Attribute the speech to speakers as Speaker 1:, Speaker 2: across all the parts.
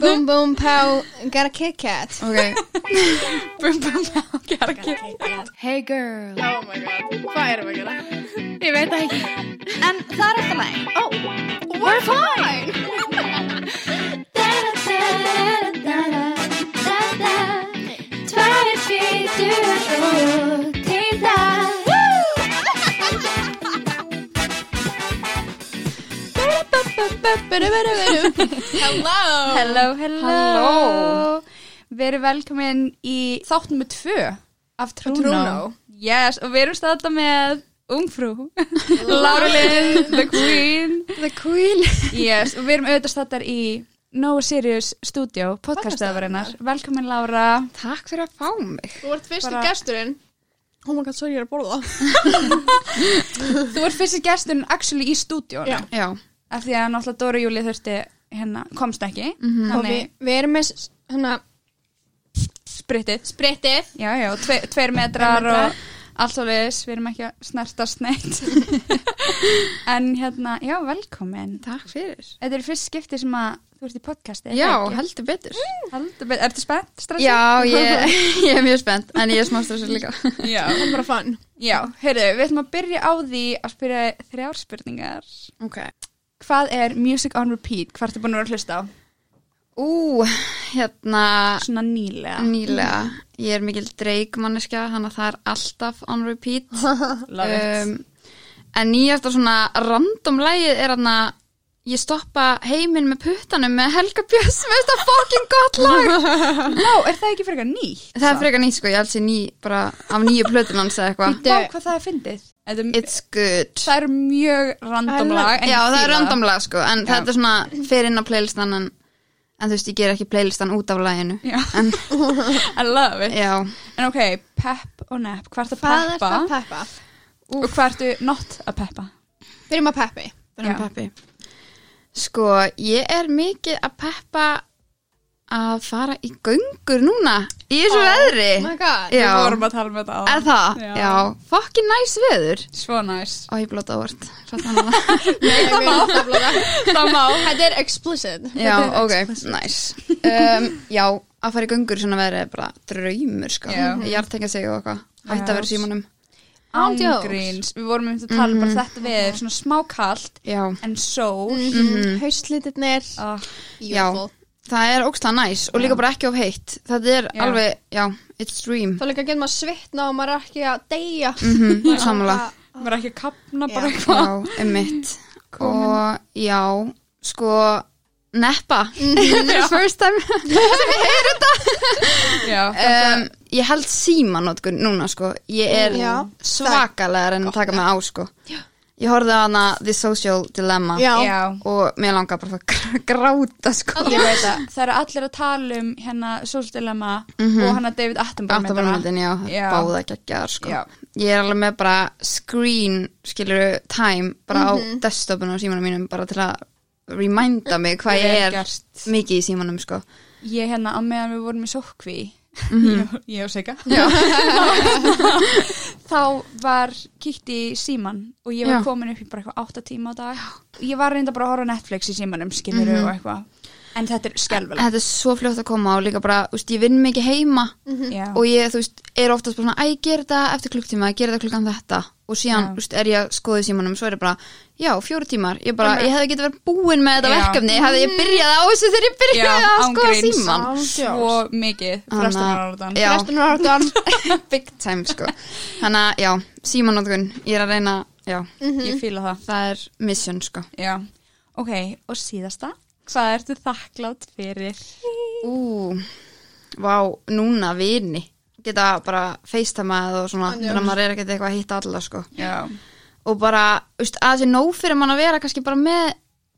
Speaker 1: Boom, boom, pow, got a Kit Kat.
Speaker 2: Ok,
Speaker 3: Bum bum bá, gerða
Speaker 2: hey girl
Speaker 3: Oh my god, hvað erum við að gera? Ég veit það ekki
Speaker 2: En það er alltaf læg
Speaker 3: Oh, we're fine
Speaker 2: Tvær fýtur og til það
Speaker 3: Hello
Speaker 2: Hello, hello
Speaker 3: Halló.
Speaker 2: Við erum velkomin í þátt nummer tvö af Trúnó,
Speaker 3: Trúnó.
Speaker 2: Yes, og við erum stáða með Ungfrú, Laura Lynn, The Queen
Speaker 1: The Queen.
Speaker 2: Yes, og við erum auðvitað stættar í Nóa Sirius Studio, podcastaðarinnar. Velkomin Lára.
Speaker 1: Takk fyrir að fá mig.
Speaker 3: Þú ert fyrstu
Speaker 2: Bara-
Speaker 3: gesturinn Oh my god, sorry, ég er að borða
Speaker 2: Þú ert fyrsti gesturinn actually í stúdíónu.
Speaker 3: Já.
Speaker 1: Já.
Speaker 2: Af því að náttúrulega Dóri Júli þurfti hérna, komst ekki.
Speaker 3: Mhm.
Speaker 1: Og við,
Speaker 2: Þannig,
Speaker 1: við erum með s- svona
Speaker 2: spritið.
Speaker 3: Spritið
Speaker 2: Já, já, tve, tveir metrar og allt svo leiðis. Við erum ekki að snertast neitt. en hérna, já, velkomin.
Speaker 1: Takk fyrir.
Speaker 2: Þetta er fyrst skipti sem að þú ert í podcasti. er
Speaker 1: Já,
Speaker 2: það ekki?
Speaker 1: heldur betur.
Speaker 2: Heldur betur. Ertu spennt? stressið?
Speaker 1: Já, ég, ég er mjög spennt, en ég er smá stressur líka.
Speaker 2: Já.
Speaker 3: Það er bara fun
Speaker 2: Já, heyrðu, við ætlum að byrja á því að spyrja þig þrjár spurningar.
Speaker 1: Ok.
Speaker 2: Hvað er Music on Repeat? Hvað ertu búin að vera að hlusta á?
Speaker 1: Ú, hérna,
Speaker 2: Svona nýlega.
Speaker 1: nýlega, ég er mikil dreikmanneskja, þannig að það er alltaf on repeat. um, en nýjasta svona random lægið er hann að ég stoppa heiminn með puttanum með Helga Björns, veist það fucking gott lag
Speaker 2: Ná, er það ekki frekar ný?
Speaker 1: það er frekar nýtt sko, ég held sér ný bara af nýju plötun hans eða eitthvað
Speaker 2: Vá, hvað það er fyndið? Þetta er-
Speaker 1: it's good
Speaker 2: Það er mjög
Speaker 3: Það
Speaker 2: random
Speaker 3: er
Speaker 2: lag. en
Speaker 1: já
Speaker 2: ég
Speaker 1: það
Speaker 2: fíla
Speaker 1: er random lag sko, en
Speaker 2: Já.
Speaker 1: þetta er svona fyrir inn á playlistan en, en þú veist ég ger ekki playlistan út af læginu
Speaker 3: Mm.
Speaker 2: Já.
Speaker 1: en
Speaker 2: I love it.
Speaker 1: já,
Speaker 2: En ok, pep og nepp. Hvað ertu að
Speaker 3: Hvað er
Speaker 2: peppa?
Speaker 3: það peppa?
Speaker 2: Og hvað ertu not að peppa?
Speaker 3: Byrjum að peppi
Speaker 1: byrjum
Speaker 2: Já.
Speaker 1: pappi sko, ég er mikið að peppa að fara í göngur núna í þessu veðri
Speaker 3: Oh my god
Speaker 1: Já.
Speaker 2: Við vorum að tala um þetta á.
Speaker 1: Er það? Já, fokkin næs veður
Speaker 2: Svo næs.
Speaker 1: Ó, ég blóta orð Já,
Speaker 3: Nei, það má Mhm. Það má Þetta er explicit
Speaker 1: ok, næs um, Já, að fara í göngur í svona veðri er bara draumur, sko
Speaker 2: Já.
Speaker 1: Ég er tekið sig og eitthvað Hætt að vera í símanum
Speaker 3: Án djóks.
Speaker 2: Ángríns. Við vorum um þetta að tala bara þetta við. Svona smákallt
Speaker 1: Já,
Speaker 2: en sól.
Speaker 3: Mhm. Mm-hmm. Hauslitirnir
Speaker 2: Ah,
Speaker 1: já Það er ókslega næs og líka bara ekki of heitt Þetta er
Speaker 2: Já.
Speaker 1: alveg, já, it's dream
Speaker 3: Þá líka getur maður svitna og maður er ekki að deyja
Speaker 1: mm -hmm, Samla
Speaker 2: Mér er ekki að kapna bara
Speaker 3: Já.
Speaker 2: eitthvað.
Speaker 1: Já, emmitt
Speaker 2: hérna.
Speaker 1: Og já, sko Neppa Fyrir first time
Speaker 2: Já,
Speaker 1: um, ég held símanótkun núna sko ég er
Speaker 3: Já.
Speaker 1: svakalega að reyna að taka mig á sko ég horfði á hana The Social Dilemma
Speaker 2: já.
Speaker 1: og mér langar bara að fara að gráta sko
Speaker 2: Ég veit að það eru allir að tala um hérna Solstilema og hana David Attenborough myndina.
Speaker 1: Aftabármyndin, já,
Speaker 2: Já.
Speaker 1: báða geggjaðar sko
Speaker 2: Já.
Speaker 1: Ég er alveg með bara screen, skiluru, time bara
Speaker 2: Mhm.
Speaker 1: á desktopinu og símanum mínum bara til að reminda mig hvað ég
Speaker 2: Vel
Speaker 1: er
Speaker 2: gert.
Speaker 1: mikið í símanum sko
Speaker 2: Ég hérna á meðan við vorum í sókvi ég, ég og Sigga
Speaker 1: Mhm. Já.
Speaker 2: þá var kíkt í síman og ég var
Speaker 1: Já.
Speaker 2: komin upp í bara eitthvað 8 tíma á dag ég var reynda bara að horfa á Netflix í símanum skilur
Speaker 1: Mhm.
Speaker 2: og eitthvað en þetta er skelvilega
Speaker 1: Þetta er svo fljótt að koma og líka bara, þú veist, ég vinn mikið heima
Speaker 2: Mhm.
Speaker 1: Mhm. og ég, þú veist, er oftast bara svona æ, gera þetta eftir klukktíma, gera þetta klukkan þetta og síðan,
Speaker 2: Já.
Speaker 1: þú veist, er ég að skoða í símanum svo er ég bara, já, fjóru tímar ég bara, ég hefði getið verið búin með þetta
Speaker 2: Já.
Speaker 1: verkefni hefði ég byrjað á þessu þegar ég byrjaði að skoða síman
Speaker 2: svo mikið frestunaráðan
Speaker 1: Já.
Speaker 3: Frestunum er orðan
Speaker 1: big time, sko þannig að, já, símanótkun, ég er að reyna já, Mhm.
Speaker 2: ég fíla það
Speaker 1: það er mission, sko
Speaker 2: já. ok, og síðasta hvað ertu þakklátt fyrir
Speaker 1: ú, vá, núna vini, geta bara feistamað og svona, þannig að maður er ekkert eitthvað að hitta alla, sko
Speaker 2: já,
Speaker 1: og bara, veist, að þessi nóg fyrir mann að vera kannski bara með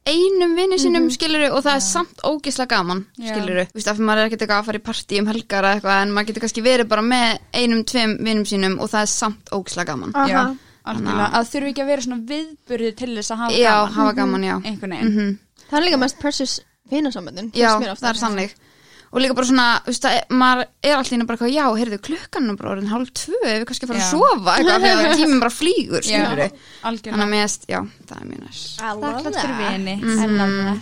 Speaker 1: einum vinnu sínum, mm og það er samt ógislega gaman,
Speaker 2: Mhm. Já.
Speaker 1: skiluru þú veist, af því maður er ekkert eitthvað að fara í partí um helgar eða eitthvað, en maður getur kannski verið bara með einum, tveim vinnum sínum og það er samt ógislega gaman
Speaker 2: já,
Speaker 3: Aha.
Speaker 2: algjörlega að þurfi ekki að vera svona viðburðið til þess að hafa
Speaker 1: já,
Speaker 2: gaman Mhm.
Speaker 1: hafa gaman, já Mhm.
Speaker 2: einhvern veginn,
Speaker 3: Það er líka mest precious vinasamböndin
Speaker 1: já, það er sannleik og líka bara svona, þú veist, það er- maður er alltaf bara eitthvað, já, heyrðu, klukkan er bara orðin hálf tvö, ef við kannski að fara
Speaker 2: Já.
Speaker 1: að sofa eitthvað, af því að tíminn bara flýgur, skiluru þannig
Speaker 2: algjörlega
Speaker 1: að mér, erst- já, það Mhm. er mjög næst
Speaker 3: I love
Speaker 2: þakklátt fyrir
Speaker 3: that
Speaker 2: vini mm -hmm.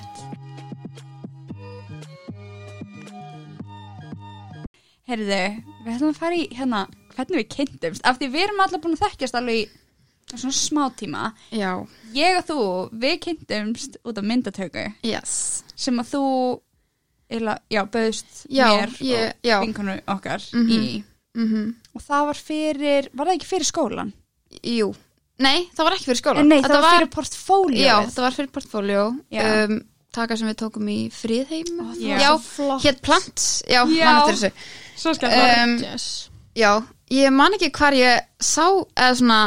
Speaker 2: heyrðu, við ætlum að fara í hérna, hvernig við kynntumst, af því við erum allir búin að þekkjast alveg í svona smá tíma.
Speaker 1: Já,
Speaker 2: Ég og þú, við kynntumst út af myndatöku
Speaker 1: yes.
Speaker 2: sem að þú, eila, já, bauðst
Speaker 1: Já,
Speaker 2: mér
Speaker 1: ég- já.
Speaker 2: og vinkonu okkar í.
Speaker 1: Mm
Speaker 2: Og það var fyrir, var það ekki fyrir skólan?
Speaker 1: Jú, nei, það var ekki fyrir skóla.
Speaker 2: Eh, Nei, það var, fyrir portfóljóið.
Speaker 1: Já, það var fyrir portfóljó.
Speaker 2: Já.
Speaker 1: Um, taka sem við tókum í friðheim.
Speaker 3: Ó, það
Speaker 2: Já.
Speaker 3: var
Speaker 1: Já,
Speaker 3: svo flott.
Speaker 1: hér plant. Já,
Speaker 2: Já.
Speaker 1: mann eftir þessu.
Speaker 2: Svo
Speaker 1: skemmtilegt. um,
Speaker 3: yes.
Speaker 1: Já, ég man ekki hvar ég sá, eða svona,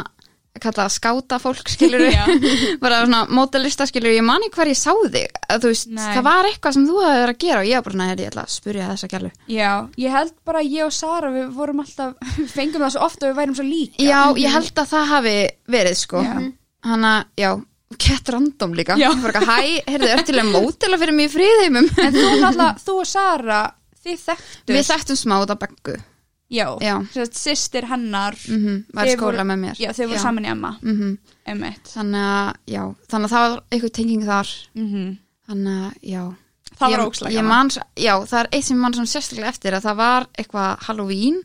Speaker 1: kalla skáta fólk, skilur við. bara svona mótalista, skilur við. Ég man ekki hvar ég sá þig. Að, þú veist,
Speaker 2: Nei.
Speaker 1: það var eitthvað sem þú hafði verið að gera og ég var bara, neður, ég ætla að spurja þessa gælu.
Speaker 2: Já, ég held bara að ég og Sara við vorum alltaf, við fengum það svo ofta og við værum svo líka.
Speaker 1: Já, ég held að það hafi verið, sko.
Speaker 2: Já.
Speaker 1: Hanna, já, kett random líka.
Speaker 2: Já.
Speaker 1: Bara, eitthvað, hæ, heyrðu, ertilega mótila fyrir mig í friðheimum.
Speaker 2: En þú náttúrulega, þú og Sara, þið þekktu.
Speaker 1: Við þekktum smá út af beggu.
Speaker 2: Já,
Speaker 1: Já.
Speaker 2: Sérst, sýstir hennar,
Speaker 1: Mm var í
Speaker 2: Þið
Speaker 1: skóla
Speaker 2: voru-
Speaker 1: með mér.
Speaker 2: já, þau voru saman í Emma,
Speaker 1: Mm
Speaker 2: emmitt.
Speaker 1: Þannig að, já, þannig að það var eitthvað tenging þar.
Speaker 2: Mm -hmm.
Speaker 1: Þannig að, já.
Speaker 2: Það var
Speaker 1: Ég-
Speaker 2: ókslega
Speaker 1: ég
Speaker 2: gaman.
Speaker 1: man s- Já, það er eitt sem ég mann svona sérstaklega eftir að það var eitthvað Halloween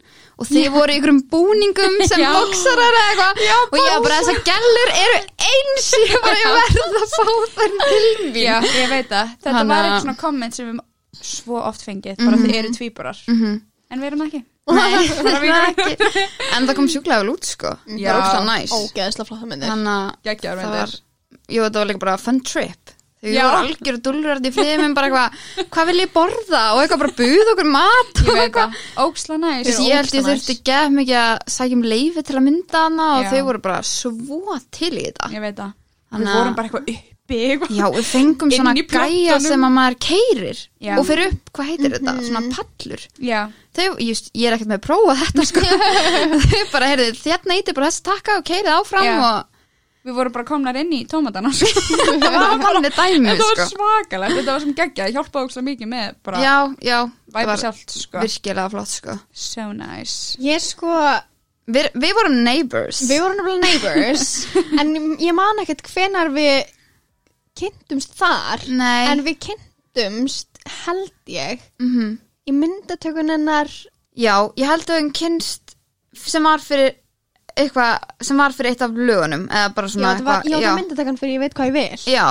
Speaker 1: og þið voru í einhverjum búningum sem
Speaker 2: Já.
Speaker 1: bóksarar eða eitthvað og ég var bara þess að gælur eru eins ég bara ég verð að fá þær til mín
Speaker 2: Já, ég veit það. Þetta
Speaker 1: Þannig
Speaker 2: var
Speaker 1: að-
Speaker 2: eitthvað svona komment sem við svo oft fengið, bara þið eru tvíburar.
Speaker 1: Mhm.
Speaker 2: En við erum það ekki.
Speaker 1: Nei, það var ekki En það kom sjúklega vel út sko
Speaker 3: Mm-hmm.
Speaker 1: Það
Speaker 2: Já.
Speaker 1: var óslega næs
Speaker 3: Ógeðslega flott það myndir
Speaker 1: Þannig að
Speaker 2: Gekkjar
Speaker 1: það var Jú, þetta var líka bara fun trip Þau
Speaker 2: Já.
Speaker 1: voru algjör dullurært í friðum en bara eitthvað, hvað vil ég borða og eitthvað bara buð okkur mat
Speaker 2: Ég
Speaker 1: og
Speaker 2: veit
Speaker 1: eitthvað
Speaker 2: það. Óksla næs.
Speaker 1: Þú veist, ég held ég
Speaker 3: ógeðslega
Speaker 1: þurfti gef mikið að sækja um leifi til að mynda hana og
Speaker 2: Já.
Speaker 1: þau voru bara svo til í þetta.
Speaker 2: Ég veit það. Við
Speaker 1: Þannig að-
Speaker 2: vorum bara eitthvað uppi, eitthvað.
Speaker 1: Já, við fengum
Speaker 2: Inn
Speaker 1: svona
Speaker 2: í
Speaker 1: gæja
Speaker 2: plötunum.
Speaker 1: sem að maður keirir
Speaker 2: Já.
Speaker 1: og fyrir upp, hvað heitir þetta, svona pallur.
Speaker 2: Já,
Speaker 1: Þau, just, ég er ekkert með að prófa þetta sko. þau bara, heyrðu, þérna íti bara þessi takka og keirið áfram
Speaker 2: Já.
Speaker 1: og
Speaker 2: við vorum bara komnar inn í tómatana, sko.
Speaker 1: það var þannig dæmi
Speaker 2: Þetta var
Speaker 1: sko.
Speaker 2: svakalegt, þetta var sem geggja, það hjálpaði ógst mikið með bara
Speaker 1: Já, já, það
Speaker 2: væpa
Speaker 1: var
Speaker 2: sjálft, sko.
Speaker 1: virkilega flott sko.
Speaker 2: So nice.
Speaker 3: Ég sko,
Speaker 1: Við, við vorum neighbors.
Speaker 3: við vorum nefnilega neighbors En ég man ekkert hvenar við kynntumst þar
Speaker 1: Nei,
Speaker 3: En við kynntumst, held ég
Speaker 1: mm
Speaker 3: Í myndatökunennar
Speaker 1: Já, ég held að við kynst sem var fyrir eitthvað sem var fyrir eitt af lögunum eða bara
Speaker 3: Já,
Speaker 1: svona
Speaker 3: það var, já, það
Speaker 1: já,
Speaker 3: var myndatökan fyrir ég veit hvað ég vil
Speaker 1: já,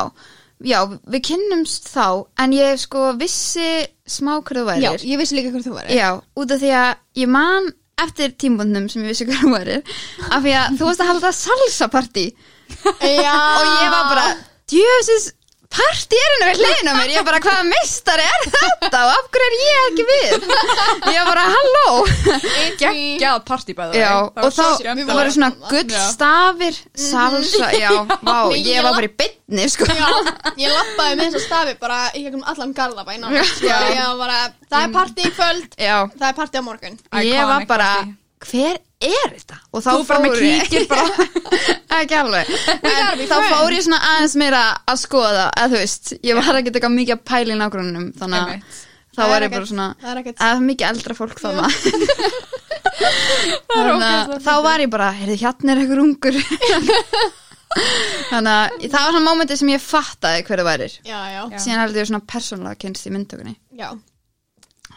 Speaker 1: já, við kynnumst þá en ég sko vissi smá hverðu
Speaker 3: Já,
Speaker 1: værir
Speaker 3: ég vissi líka hvort þú væri
Speaker 1: já, út af því að ég man eftir tímbundnum sem ég vissi hverðu værir af því að þú varst að halda salsapartí
Speaker 3: já.
Speaker 1: og ég var bara djöfisins partí er henni við hliðin á mér ég bara hvaða meistari er þetta og af hverju er ég ekki við ég bara halló
Speaker 2: Geggjað partí bæði.
Speaker 1: Já, og þá
Speaker 2: skemmtilegt.
Speaker 1: voru svona gullstafir, salsa, já, vá,
Speaker 3: Mikið
Speaker 1: ég var bara í bytni, sko.
Speaker 3: Já, ég lappaði með þess að stafi bara í gegnum allan garðabæn á mér.
Speaker 1: Já.
Speaker 3: Ég var bara, það er partí í kvöld,
Speaker 1: Já,
Speaker 3: það er partí á morgun.
Speaker 1: ég var
Speaker 2: Iconic
Speaker 1: bara,
Speaker 2: party.
Speaker 1: hver er þetta? Og þá
Speaker 2: Þú bara með kíkir
Speaker 1: bara. Ekki alveg. En þá
Speaker 3: friends.
Speaker 1: fór ég svona aðeins meira að skoða, að þú veist, ég var ekki eitthvað mikið að pæla í nágrunum, þannig að
Speaker 2: Einmitt.
Speaker 1: þá
Speaker 3: Það er
Speaker 1: var ég
Speaker 3: ekkert-
Speaker 1: bara svona,
Speaker 3: Það er ekkert.
Speaker 1: að það er mikið eldra fólk þannig.
Speaker 2: er
Speaker 1: Þannig að
Speaker 2: ógeðslega
Speaker 1: þá var ég bara, heyrðu, hérna er eitthvað ungur. Þannig að það var svona mómenti sem ég fattaði hverju værir.
Speaker 3: Já, já,
Speaker 2: Já.
Speaker 1: síðan held ég svona persónulega kynst í myndtökunni
Speaker 3: já.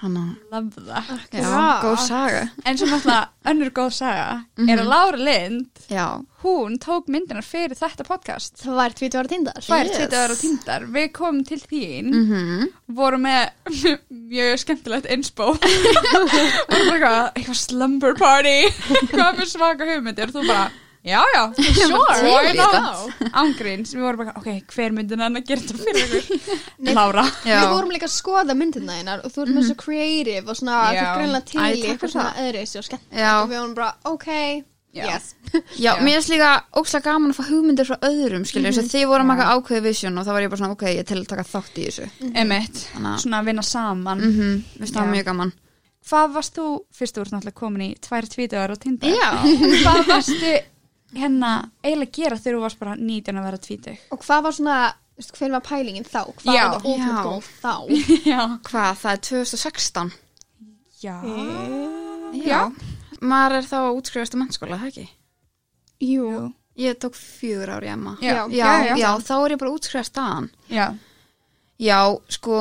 Speaker 1: hann að,
Speaker 2: Love that.
Speaker 1: já,
Speaker 3: Já.
Speaker 1: góð saga
Speaker 2: En sem alltaf önnur góð saga
Speaker 1: Mhm.
Speaker 2: er að Lára Lind,
Speaker 1: já,
Speaker 2: hún tók myndinar fyrir þetta podcast.
Speaker 3: Það var 20 ára tindar.
Speaker 1: Yes.
Speaker 2: Tvær yes. tvítuðar og tindar. Við komum til þín,
Speaker 1: mm
Speaker 2: vorum með mjög skemmtilegt inspo. vorum bara eitthvað, eitthvað slumber party, hvað með svaka hugmyndir. Þú bara, já, já, sure,
Speaker 1: til
Speaker 2: why
Speaker 1: í
Speaker 2: not?
Speaker 1: þetta.
Speaker 3: Vá.
Speaker 2: ángríns, við vorum bara, ok, hver myndi hann að gera þetta fyrir
Speaker 3: Nei.
Speaker 2: ykkur? Lára.
Speaker 1: já. Mhm.
Speaker 3: Við vorum líka að skoða myndina þínar og þú ert með svo creative og svona,
Speaker 2: Já.
Speaker 3: þú ert greinlega til
Speaker 1: Æ,
Speaker 3: í
Speaker 1: takk fyrir
Speaker 3: eitthvað svona öðruvísi og skemmt.
Speaker 1: Já.
Speaker 3: Og við vorum bara, ok,
Speaker 2: Já.
Speaker 3: yes.
Speaker 1: já,
Speaker 2: Já.
Speaker 1: mér er líka ókslega gaman að fá hugmyndir frá öðrum, skilur, mm -hmm. þið vorum
Speaker 2: Já.
Speaker 1: að maka ákveði vision og þá var ég bara svona, ok, ég er til að taka þátt í þessu
Speaker 2: Emmett,
Speaker 1: Þannig að-
Speaker 2: svona að vinna saman.
Speaker 1: Ah. mm -hmm. veist, það var
Speaker 2: Já.
Speaker 1: mjög gaman
Speaker 2: Hvað varst þú, fyrst þú ert náttúrulega komin í tvær tvítuðar og tindar,
Speaker 1: já,
Speaker 2: hvað varstu hérna eiginlega að gera þegar þú varst bara 19 að vera tvítug?
Speaker 3: Og hvað var svona, veistu, hver var pælingin þá? Hvað
Speaker 2: Já.
Speaker 3: var það
Speaker 1: Já.
Speaker 3: ultimate goal þá?
Speaker 2: Já.
Speaker 1: hvað, það er 2016
Speaker 2: Já.
Speaker 1: já, maður er þá að útskrifast á mennskóla, það ekki
Speaker 3: Jú.
Speaker 1: ég tók fjögur ár í emma
Speaker 2: Já.
Speaker 1: já,
Speaker 2: Já, já.
Speaker 1: já, þá er ég bara útskrifast aðan
Speaker 2: Já.
Speaker 1: Já, sko,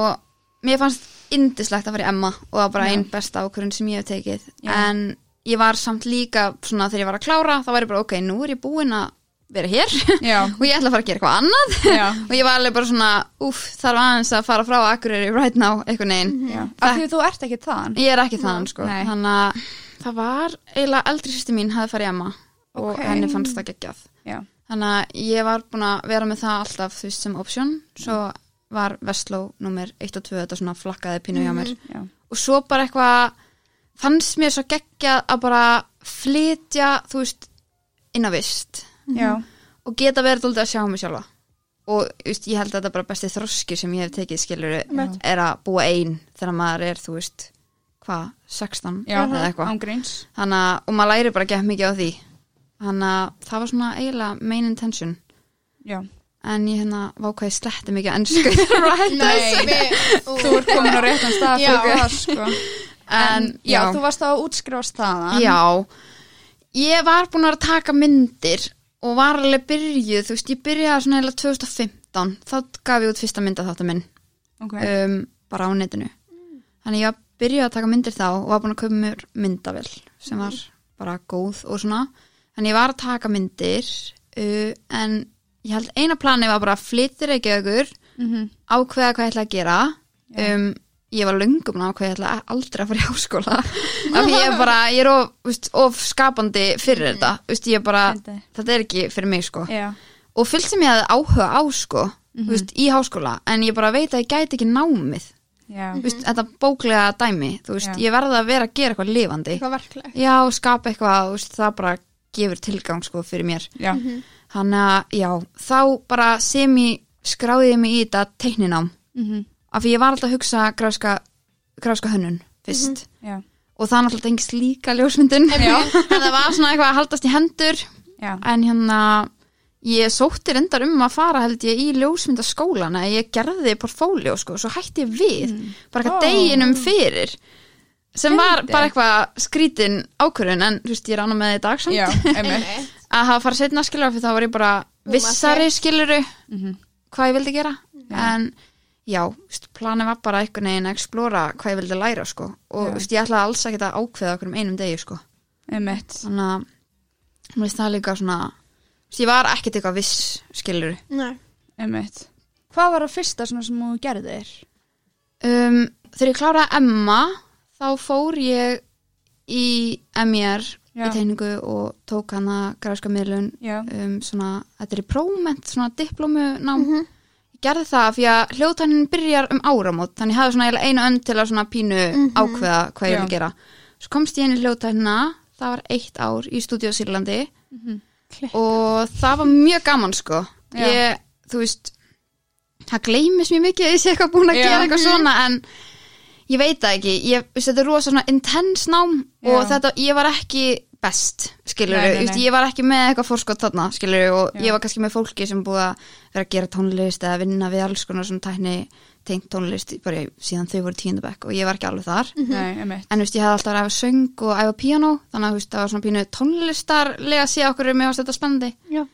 Speaker 1: mér fannst indislegt að fara í Emma og það var bara einn besta ákvörðun sem ég hef tekið en ég var samt líka svona þegar ég var að klára þá var ég bara ok, nú er ég búin að vera hér
Speaker 2: Já.
Speaker 1: og ég ætla að fara að gera eitthvað annað
Speaker 2: Já.
Speaker 1: og ég var alveg bara svona, uff, þarf aðeins að fara frá Akureyri right now, eitthvað neginn
Speaker 2: Af því að þú ert ekki þaðan
Speaker 1: ég er ekki þaðan sko
Speaker 2: Nei.
Speaker 1: þannig að það var eiginlega eldri sýsti mín hafði farið í Emma og
Speaker 2: Ok.
Speaker 1: henni fannst það geggjað
Speaker 2: Já,
Speaker 1: Þannig að ég var búin að vera með það alltaf þú veist sem option svo
Speaker 2: Mm.
Speaker 1: var Vestló nummer 1 og 2 þetta svona flakkaði pínu hjá mér
Speaker 2: já,
Speaker 1: og svo bara eitthvað fannst mér svo geggjað að bara flytja þú veist inn á vist
Speaker 2: já
Speaker 1: og geta verið dóldi að sjá mig sjálfa og þú veist, ég held að þetta er bara besti þroski sem ég hef tekið skilur er að búa ein þegar maður er þú veist hvað, 16
Speaker 2: Já,
Speaker 1: eða eitthvað
Speaker 2: ángríns
Speaker 1: Þannig að, og maður læri bara að geta mikið á því. Þannig að það var svona eiginlega main intention.
Speaker 2: Já
Speaker 1: En ég hérna vákvæði sletti mikið ennsku.
Speaker 2: Right Nei, þú ert komin á réttan stað
Speaker 3: Já.
Speaker 2: fyrir það, sko.
Speaker 1: En,
Speaker 2: já, þú varst á að útskrifast þaðan
Speaker 1: já. Ég var búin að vera að taka myndir og var alveg byrjuð, þú veist, ég byrjaði svona eiginlega 2015. Þá gaf ég út fyrsta mynda þáttu minn,
Speaker 2: Ok,
Speaker 1: um, bara á netinu. Þannig að ég var byrjuð að taka myndir þá og var búin að köpa mér myndavel sem var bara góð og svona. Þannig að ég var að taka myndir uh, en ég held eina planið var bara að flyttir ekki aukur
Speaker 2: Mhm.
Speaker 1: ákveða hvað ég ætla að gera um, ég var löngum ná hvað ég ætla aldrei að fara í háskóla af því ég er bara, ég er of, veist, of skapandi fyrir þetta, veist, ég er bara
Speaker 2: Fyndi.
Speaker 1: þetta er ekki fyrir mig sko
Speaker 2: já,
Speaker 1: og fyllt sem ég hafði áhuga á sko veist, í háskóla, en ég bara veit að ég gæti ekki námið,
Speaker 2: já
Speaker 1: veist, þetta bóklega dæmi, þú veist,
Speaker 2: Já.
Speaker 1: ég verði að vera að gera eitthvað lifandi,
Speaker 3: Eitthvað verkleg.
Speaker 1: já, skapa eitthvað þú veist, það bara gefur tilgang sko fyrir mér
Speaker 2: Já,
Speaker 1: þannig að já, þá bara sem ég skráði ég mig í þetta teikninám
Speaker 2: Mhm.
Speaker 1: af því ég var alltaf að hugsa gráska, gráska hönnun fyrst
Speaker 2: já,
Speaker 1: og það náttúrulega tengist líka ljósmyndun en það var svona eitthvað að haldast í hendur
Speaker 2: já
Speaker 1: en hérna ég sótti reyndar um að fara held ég í ljósmyndaskólan að ég gerði portfóljó sko, svo hætti ég við bara eitthvað
Speaker 2: Mm. Ó.
Speaker 1: deginum fyrir sem var
Speaker 2: Fyndið.
Speaker 1: bara eitthvað skrítin ákvörðun en þú veist ég rána með það í dag samt
Speaker 2: Já, einmitt
Speaker 3: Einmitt.
Speaker 1: að hafa farið setna skilur fyrir þá var ég bara
Speaker 3: Búma
Speaker 1: vissari skiluru
Speaker 2: Mhm.
Speaker 1: hvað ég vildi gera en já, veist, planið var bara einhvern veginn að explora hvað ég vildi læra sko og
Speaker 2: Já.
Speaker 1: veist, ég ætlaði alls ekki að ákveða okkur um einum degi sko
Speaker 2: Einmitt
Speaker 1: þannig að mér finnst það líka svona veist, ég var ekkert eitthvað viss skiluru
Speaker 3: Nei.
Speaker 2: Einmitt. Hvað var það fyrsta svona sem þú gerðir?
Speaker 1: um, þegar ég kláraði Emma þá fór ég í MR
Speaker 2: Já.
Speaker 1: í teiningu og tók hana gráska miðlun
Speaker 2: Já,
Speaker 1: um, svona, þetta er í próment, svona diplomunám
Speaker 2: Mhm.
Speaker 1: ég gerði það fyrir að hljóðtænin byrjar um áramót, þannig ég hafði svona eiginlega eina önd til að svona pínu ákveða hvað ég
Speaker 2: Mhm. Já.
Speaker 1: vil gera svo komst ég inn í hljóðtænina það var eitt ár í Studio Sýrlandi
Speaker 2: Klikkað.
Speaker 1: og það var mjög gaman sko
Speaker 2: Mhm. Já.
Speaker 1: ég, þú veist það gleymis mjög mikið að ég sé eitthvað búin að
Speaker 2: Já. Mhm.
Speaker 1: gera eitthvað svona en ég veit það ekki, ég, þú veist, þetta er rosa svona intense nám og
Speaker 2: Já.
Speaker 1: þetta, ég var ekki best, skilur
Speaker 2: Nei, nei, nei.
Speaker 1: við, ég var ekki með eitthvað fórskott þarna, skilur og
Speaker 2: Já.
Speaker 1: ég var kannski með fólki sem búið að vera að gera tónlist eða vinna við alls konar svona tækni tengt tónlist bara í- síðan þau voru tíundabæk og ég var ekki alveg þar
Speaker 2: Nei, einmitt
Speaker 1: en þú veist, ég hafði alltaf að æfa söng og æfa píanó þannig að þú veist, það var svona pínu tónlistarlega að sé okkur um ég varst þetta spennandi
Speaker 3: Já.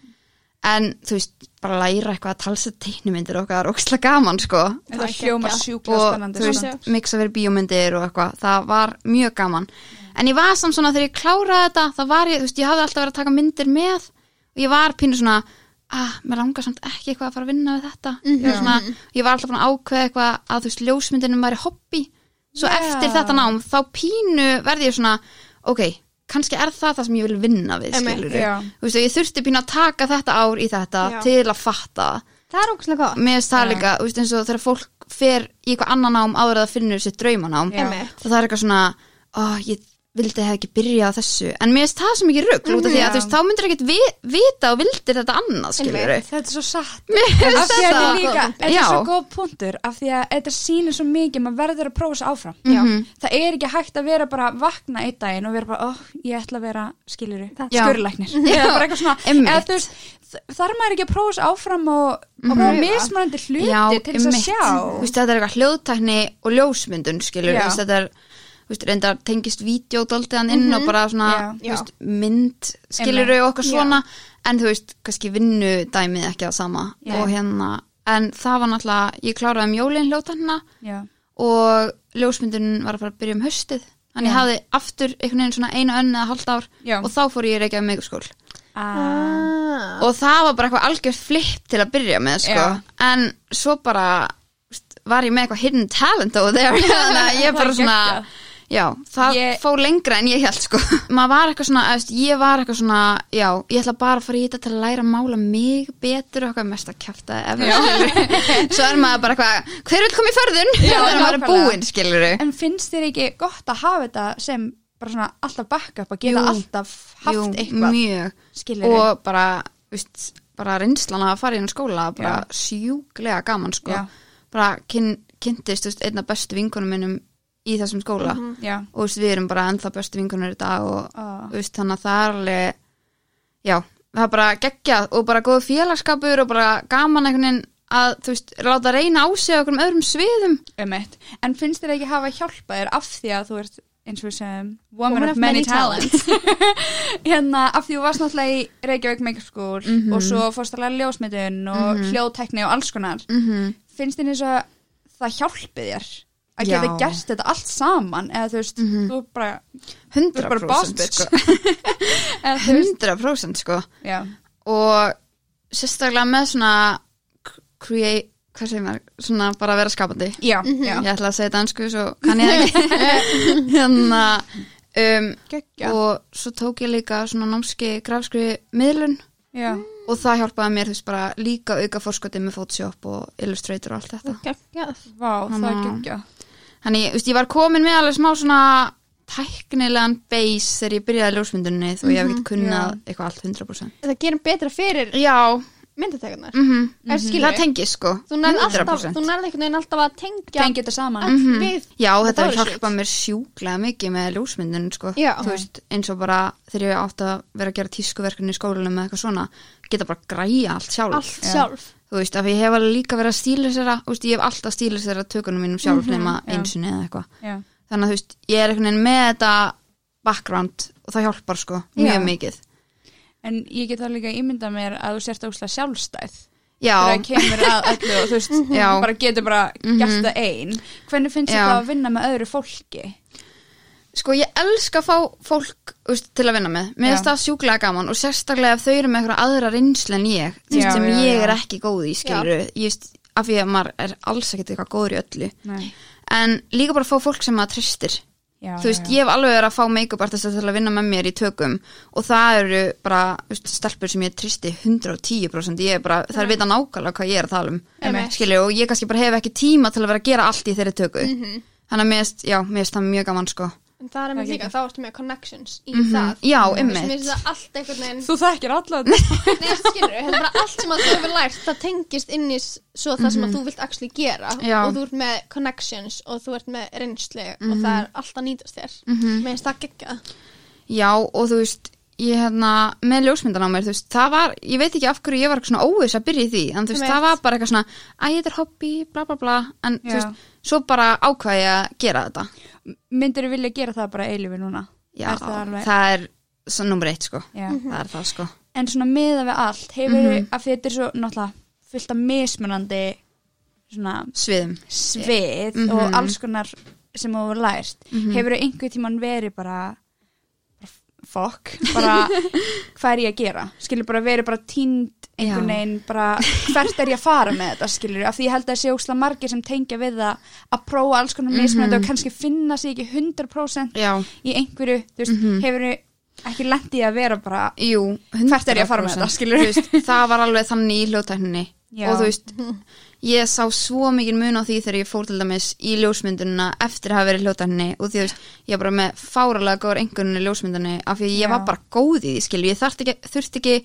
Speaker 1: en þú veist, bara læra eitthvað að talsa teiknumyndir okkar, óksla gaman sko
Speaker 2: Þetta
Speaker 3: Það er
Speaker 2: hljóma
Speaker 3: geggjað.
Speaker 2: sjúkla
Speaker 1: og
Speaker 2: spennandi sko.
Speaker 1: þú
Speaker 2: samt.
Speaker 1: veist, miksa verið bíómyndir og eitthvað, það var mjög gaman en ég var samt svona þegar ég kláraði þetta það var ég, þú veist, ég hafði alltaf verið að taka myndir með og ég var pínu svona að, mér langar samt ekki eitthvað að fara að vinna við þetta ég,
Speaker 2: Mhm.
Speaker 1: var svona, ég var alltaf búin að ákveða eitthvað að þú veist, ljósmyndinum væri hobby svo
Speaker 2: Já.
Speaker 1: eftir þetta nám, þá pínu verði ég svona, ok, kannski er það það sem ég vil vinna við,
Speaker 3: Einmitt.
Speaker 1: skilur
Speaker 2: Já,
Speaker 1: þú veist, og ég þurfti pínu að taka þetta ár í þetta
Speaker 3: Já.
Speaker 1: til að fatta það
Speaker 3: Það er ógustlega gott.
Speaker 1: mér finnst það
Speaker 2: Já.
Speaker 1: líka, þú veist, eins og þegar fólk fer í eitthvað annan nám áður að það finnur sér draumanám
Speaker 2: Já.
Speaker 3: Einmitt.
Speaker 1: og það er eitthvað svona, ó, ég vildi það ekki byrja á þessu, en mér finnst það sem ekki rugg út af því
Speaker 2: Já.
Speaker 1: að þú veist, þá myndir ekkert vi, vita og vildir þetta annað, skilur
Speaker 3: Einmitt.
Speaker 2: þetta er svo satt
Speaker 1: við
Speaker 2: Af því að þetta er líka,
Speaker 3: góð punktur.
Speaker 2: þetta er
Speaker 1: Já.
Speaker 2: svo góð punktur af því að þetta sýnir svo mikið maður verður að prófa þessu áfram það er ekki hægt að vera bara vakna einn daginn og vera bara, oh, ég ætla að vera skiluru,
Speaker 1: Já.
Speaker 2: skurlæknir
Speaker 1: Já.
Speaker 2: eða bara eitthvað svona,
Speaker 1: Einmitt.
Speaker 2: eða þú veist þ- þarf maður ekki að prófa þessu áfram og, og prófa mismunandi hluti til þess að
Speaker 1: Mhm. einmitt.
Speaker 2: sjá
Speaker 1: Þú veist, þetta er eitthvað hljóðtækni og ljósmyndun, skilur
Speaker 2: Já.
Speaker 1: þú veist, þetta er, þú veist, reyndar tengist vídeodoldiðan inn
Speaker 2: Mhm.
Speaker 1: og bara svona,
Speaker 3: Já.
Speaker 1: þú veist, mynd, skilur og okkar svona, en þú veist, kannski vinnu dæmið ekki að sama
Speaker 2: Já.
Speaker 1: og hérna, en það var náttúrulega, ég kláraði um jólin hljóðtæknina
Speaker 2: já,
Speaker 1: og ljósmyndun var að fara að byrja um haustið þannig ég
Speaker 2: Já.
Speaker 1: hafði aftur einhvern veginn svona einu önn eða halvt ár
Speaker 2: Já.
Speaker 1: og þá fór ég í Reykjavík með skól
Speaker 2: Ah.
Speaker 3: Ah.
Speaker 1: og það var bara eitthvað algjört flipp til að byrja með sko.
Speaker 2: Já.
Speaker 1: en svo bara veist, var ég með eitthvað hidden talent over there þannig að ég
Speaker 2: Það
Speaker 1: bara
Speaker 2: er
Speaker 1: svona
Speaker 2: geggjað.
Speaker 1: já, það
Speaker 2: Ég-
Speaker 1: fór lengra en ég held sko. maður var eitthvað svona, eðst, ég var eitthvað svona já, ég ætla bara að fara í þetta til að læra að mála mig betur og eitthvað mest að kæfta svo er maður bara eitthvað hver vil koma í förðun?
Speaker 2: Já,
Speaker 1: þannig að maður er
Speaker 2: nákvæmlega.
Speaker 1: búinn skilur
Speaker 2: En finnst þér ekki gott að hafa þetta sem bara svona alltaf backup að geta
Speaker 1: Jú.
Speaker 2: alltaf haft eitthvað
Speaker 1: mjög
Speaker 2: skilur og...
Speaker 1: og bara, veist, bara reynslan að fara í hennar skóla bara
Speaker 2: Já.
Speaker 1: sjúklega gaman sko.
Speaker 2: Já.
Speaker 1: bara kyn, kynntist veist, einna bestu vinkunum minnum í þessum skóla
Speaker 2: Já,
Speaker 1: og veist, við erum bara ennþá bestu vinkunum í dag og
Speaker 2: Ah.
Speaker 1: veist, þannig að það er alveg já, það er bara geggjað og bara góð félagskapur og bara gaman einhvern veginn að þú veist, láta reyna á sig á okkur öðrum sviðum
Speaker 2: um eitt En finnst þér ekki hafa hjálpa þér af því að þú ert eins og sem woman,
Speaker 3: Woman
Speaker 2: of many, talents hérna af því þú varst náttúrulega í Reykjavík Makeup School og svo fórst að læra ljósmyndun og hljóðtekni og alls konar
Speaker 1: mm -hmm.
Speaker 2: finnst þér eins og það hjálpi þér að
Speaker 1: Já.
Speaker 2: geta gert þetta allt saman eða þú veist, þú er bara, þú er bara boss
Speaker 1: 100%
Speaker 2: bitch
Speaker 1: sko.
Speaker 2: eða þú veist
Speaker 1: 100% sko
Speaker 2: já,
Speaker 1: og sérstaklega með svona create, hvað segir maður, svona bara að vera skapandi
Speaker 2: já, já.
Speaker 1: ég ætla að segja dansku svo kann ég það ekki hérna um,
Speaker 2: Gekkja.
Speaker 1: og svo tók ég líka svona námski grafskri miðlun
Speaker 2: já.
Speaker 1: og það hjálpaði mér þú veist bara líka auka fórskotið með Photoshop og Illustrator og allt
Speaker 3: Mm.
Speaker 1: þetta
Speaker 3: Geggjað.
Speaker 2: Vá, það er
Speaker 1: Þannig að-
Speaker 2: gekkja
Speaker 1: þannig, þú veist, ég var komin með alveg smá svona tæknilegan base þegar ég byrjaði ljósmyndunni og ég hef
Speaker 3: Mhm,
Speaker 1: ekkert kunnað eitthvað allt 100%
Speaker 3: Það gerum betra fyrir
Speaker 1: Já,
Speaker 3: myndatekarnar.
Speaker 1: mm
Speaker 3: Er skilur?
Speaker 1: það tengið sko
Speaker 3: Mhm. Þú nærði alltaf,
Speaker 1: 100%.
Speaker 3: þú nærði einhvern veginn alltaf að tengja
Speaker 2: tengi þetta saman
Speaker 3: allt
Speaker 1: Mhm.
Speaker 3: við.
Speaker 1: Já, þetta
Speaker 3: Þetta var
Speaker 1: hjálpa mér sjúklega mikið með ljósmyndun, sko.
Speaker 3: Já.
Speaker 1: Þú veist, eins og bara þegar ég átti að vera að gera tískuverkunni í skólanum eða eitthvað svona, geta bara að græja allt sjálf.
Speaker 3: Allt sjálf.
Speaker 1: Þú veist, af ég hef alveg líka verið að stíla sér að, þú veist, ég hef alltaf stíla sér að tökunum mínum sjálf nema
Speaker 2: já.
Speaker 1: einsinni eða eitthvað.
Speaker 2: já.
Speaker 1: Þannig að þú veist, ég er einhvern veginn með þetta background og það hjálpar, sko, mjög
Speaker 2: Já.
Speaker 1: mikið.
Speaker 2: en ég get það líka ímyndað mér að þú sért óslega sjálfstæð
Speaker 1: Já,
Speaker 2: þegar það kemur að öllu og þú veist,
Speaker 1: Já. Mhm.
Speaker 2: bara getur bara gert það ein hvernig finnst
Speaker 1: Já.
Speaker 2: þetta að vinna með öðru fólki
Speaker 1: sko ég elska að fá fólk þú veist, til að vinna með, mér finnst
Speaker 2: Já.
Speaker 1: það sjúklega gaman og sérstaklega ef þau eru með einhverja aðra reynslu en ég, þú
Speaker 2: Já,
Speaker 1: veist, sem
Speaker 2: já,
Speaker 1: ég
Speaker 2: já.
Speaker 1: er ekki góð í, skilur ég veist, af því að maður er alls ekkert eitthvað góður í öllu,
Speaker 2: Nei.
Speaker 1: en líka bara að fá fólk sem maður tristir,
Speaker 2: já,
Speaker 1: þú veist, ég hef alveg verið að fá make-up artist til að vinna með mér í tökum og það eru bara, þú veist, stelpur sem ég tristi 110%, ég er bara, það er vita nákvæmlega hvað ég er að tala um,
Speaker 3: Einmitt.
Speaker 1: skilur, og ég kannski bara hef ekki tíma til að vera að gera allt í þeirri töku,
Speaker 2: Mhm.
Speaker 1: þannig að mér finnst, já, mér finnst það mjög gaman, sko.
Speaker 3: En það er með
Speaker 2: Það
Speaker 3: líka,
Speaker 2: geggjað.
Speaker 3: þá ertu með connections í
Speaker 1: Mhm.
Speaker 3: það.
Speaker 1: Já,
Speaker 3: Þú veist,
Speaker 1: einmitt.
Speaker 3: Mér finnst það allt einhvern veginn
Speaker 2: þú þekkir allan
Speaker 3: Nei, skilur, þetta er bara allt sem að þú hefur lært það tengist inn í s- svo það sem að þú vilt actually gera
Speaker 1: Mhm. Já.
Speaker 3: og þú ert með connections og þú ert með reynslu og
Speaker 1: Mhm.
Speaker 3: það er allt að nýtast þér mm mér finnst það geggjað
Speaker 1: Já og þú veist ég hérna, með ljósmyndan á mér þú veist, það var, ég veit ekki af hverju ég var eitthvað svona óviss að byrja í því, en þú veist,
Speaker 3: Einmitt.
Speaker 1: það var bara eitthvað svona æ, þetta er hobby, bla bla bla en
Speaker 2: Já.
Speaker 1: þú veist, svo bara ákvað ég að gera þetta
Speaker 2: myndir þú vilja gera það bara eilifu núna
Speaker 1: Já,
Speaker 2: Er það alveg- Mhm.
Speaker 1: það er svo nummer eitt sko
Speaker 2: Já.
Speaker 1: það er það sko
Speaker 2: en svona meða við allt hefur mm
Speaker 1: Mhm.
Speaker 2: -hmm. að því þetta er svo náttúrulega fullt af mismunandi svona
Speaker 1: sviðum
Speaker 2: svið
Speaker 1: Mhm.
Speaker 2: og alls konar sem þú hefur lært hefur þú einhver tíman verið bara fokk, bara hvað er ég að gera skilur bara verið bara tínd einhvern
Speaker 1: Já.
Speaker 2: veginn bara hvert er ég að fara með þetta skilur af því ég held að það sé ósla margir sem tengja við það að prófa alls
Speaker 1: Mhm.
Speaker 2: konar mismunandi og kannski finna sig ekki 100%
Speaker 1: Já,
Speaker 2: í einhverju, þú veist,
Speaker 1: Mhm.
Speaker 2: hefur þú ekki lendið að vera bara
Speaker 1: jú,
Speaker 2: Hvert er ég að fara með
Speaker 1: 100%,
Speaker 2: þetta, skilurðu?
Speaker 1: þú veist, Það var alveg þannig í hljóðtækninni
Speaker 2: Já.
Speaker 1: og þú veist, ég sá svo mikið mun á því þegar ég fór til dæmis í ljósmyndunina eftir að hafa verið í hljóðtækninni og því þú veist, ég var bara með fáralega góður engunni ljósmyndunni af því
Speaker 2: Já.
Speaker 1: ég var bara góð í því skilju, ég þurfti ekki, þurfti ekki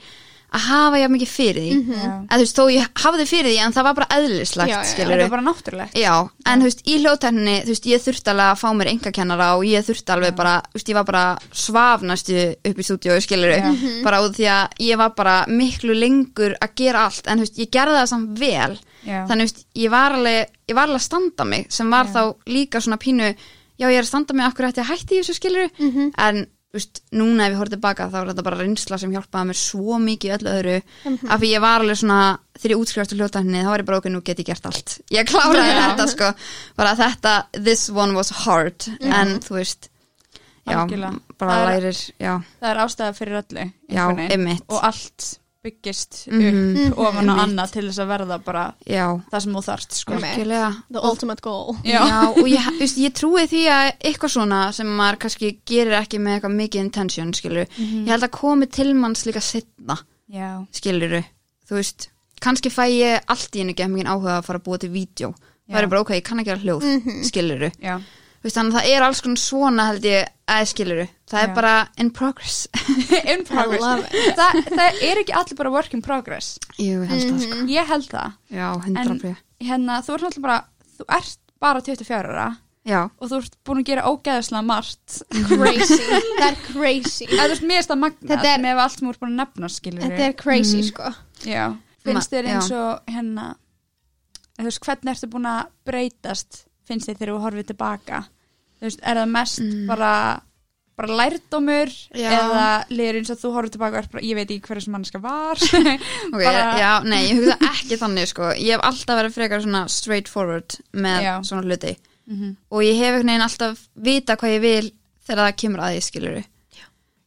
Speaker 1: að hafa ég mikið fyrir því mm
Speaker 2: Já.
Speaker 1: þú veist, þó ég hafði fyrir því en það var bara
Speaker 3: Já, já,
Speaker 1: eðlislegt
Speaker 3: já.
Speaker 1: skilju
Speaker 2: þetta er bara náttúrulegt
Speaker 1: Já, en þú veist, í hljóðtækninni, þú veist, ég þurfti alveg að fá mér engakennara og ég þurfti alveg bara, þú veist, ég var bara svafnastu upp í stúdíu, skilur
Speaker 2: Já.
Speaker 1: bara út því að ég var bara miklu lengur að gera allt, en þú veist, ég gerði það samt vel,
Speaker 2: Já.
Speaker 1: þannig, þú veist, ég var alveg, ég var alveg að standa
Speaker 2: Mhm.
Speaker 1: mig, sem var þá líka svona pínu, já, ég er að standa mig, af hverju ætti ég að hætti í þessu, skilur en þú veist, núna ef ég horfði tilbaka þá er þetta bara reynsla sem hjálpaði mér svo mikið í öllu öðru
Speaker 2: Mhm.
Speaker 1: af því ég var alveg svona þegar ég útskrifastu hljótaðinni þá var ég bara okkur nú get ég gert allt ég kláraði þetta sko bara þetta, this one was hard en þú veist já,
Speaker 2: Mhm. Algjörlega.
Speaker 1: bara
Speaker 2: Það er-
Speaker 1: lærir já,
Speaker 2: það er ástæða fyrir öllu
Speaker 1: já,
Speaker 2: einhvern veginn.
Speaker 1: einmitt
Speaker 2: og allt byggist
Speaker 1: Mhm.
Speaker 3: Mhm.
Speaker 2: upp ofan á
Speaker 1: Einmitt.
Speaker 2: annað til þess að verða bara
Speaker 1: já,
Speaker 2: það sem þú þarft sko.
Speaker 3: Einmitt.
Speaker 1: algjörlega
Speaker 3: The ultimate goal
Speaker 1: Já.
Speaker 2: Já.
Speaker 1: og ég, veist, ég trúi því að eitthvað svona sem maður kannski gerir ekki með eitthvað mikið intention, skilur ég held að komi til manns líka setna
Speaker 2: Já.
Speaker 1: skilur þú veist kannski fæ ég allt í einu ekki mikið áhuga að fara að búa til vídeo,
Speaker 2: Já.
Speaker 1: það er bara ok, ég kann ekki að hljóð mm -hmm. skilur
Speaker 2: Já.
Speaker 1: veist, þannig að það er alls konar svona held ég að skilur það
Speaker 2: Já.
Speaker 1: er bara in progress
Speaker 2: in progress
Speaker 3: love
Speaker 2: Þa, það er ekki allir bara work in progress
Speaker 1: Jú, ég held það
Speaker 3: Mhm.
Speaker 1: sko
Speaker 2: ég held það
Speaker 1: já,
Speaker 2: en
Speaker 1: hundra prið
Speaker 2: hérna, þú ert náttúrulega bara þú ert bara 24 ára
Speaker 1: já,
Speaker 2: og þú ert búin að gera ógeðislega margt
Speaker 3: Crazy, það er crazy
Speaker 2: eða þú ert mér stað magna
Speaker 3: Þetta er-
Speaker 2: með allt sem þú ert búin að nefna skilur
Speaker 3: Þetta er crazy sko
Speaker 2: já,
Speaker 1: Ma-
Speaker 2: finnst þér eins og hérna þú veist, hvernig ertu búin að breytast finnst þér þegar þú horfið tilbaka þú veist, er það mest bara bara lærdómur
Speaker 1: Mm. Já.
Speaker 2: eða liður eins og þú horfið tilbaka og ert bara, ég veit ekki hverja sem mannska var
Speaker 1: Ok,
Speaker 2: Bara-
Speaker 1: já, nei, ég hugsa ekki þannig sko Ég hef alltaf verið frekar svona straightforward með
Speaker 2: Já.
Speaker 1: svona hluti og ég hef einhvern veginn alltaf vita hvað ég vil þegar það kemur að því skilur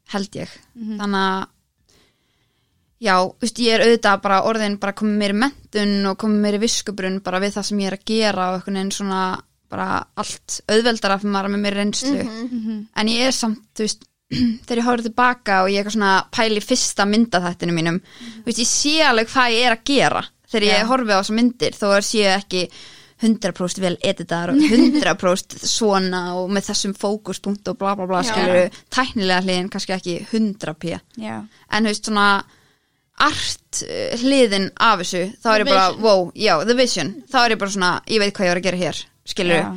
Speaker 1: held ég þannig að já, veist, ég er auðvitað bara orðin bara komið mér í mentun og komið mér í viskubrun bara við það sem ég er að gera og einhvern veginn svona bara allt auðveldara fyrir maður er með mér reynslu en ég er samt, þú veist þegar ég horfði tilbaka og ég er eitthvað svona pæli fyrsta myndaþættinu mínum þú veist, ég sé alveg hvað ég er að gera þegar ég
Speaker 2: Já.
Speaker 1: horfi á þessar myndir þó er séu ekki 100% vel editaðar og 100% svona og með þessum fókuspunkt og bla bla bla
Speaker 3: Já.
Speaker 1: skilur tæknilega hliðin kannski ekki 100p
Speaker 2: já,
Speaker 1: en þú veist svona art eh, hliðin af þessu þá er
Speaker 3: The
Speaker 1: ég bara,
Speaker 3: vision.
Speaker 1: wow, já, the vision þá er ég bara svona, ég veit hvað ég var að gera hér skilur
Speaker 2: Já.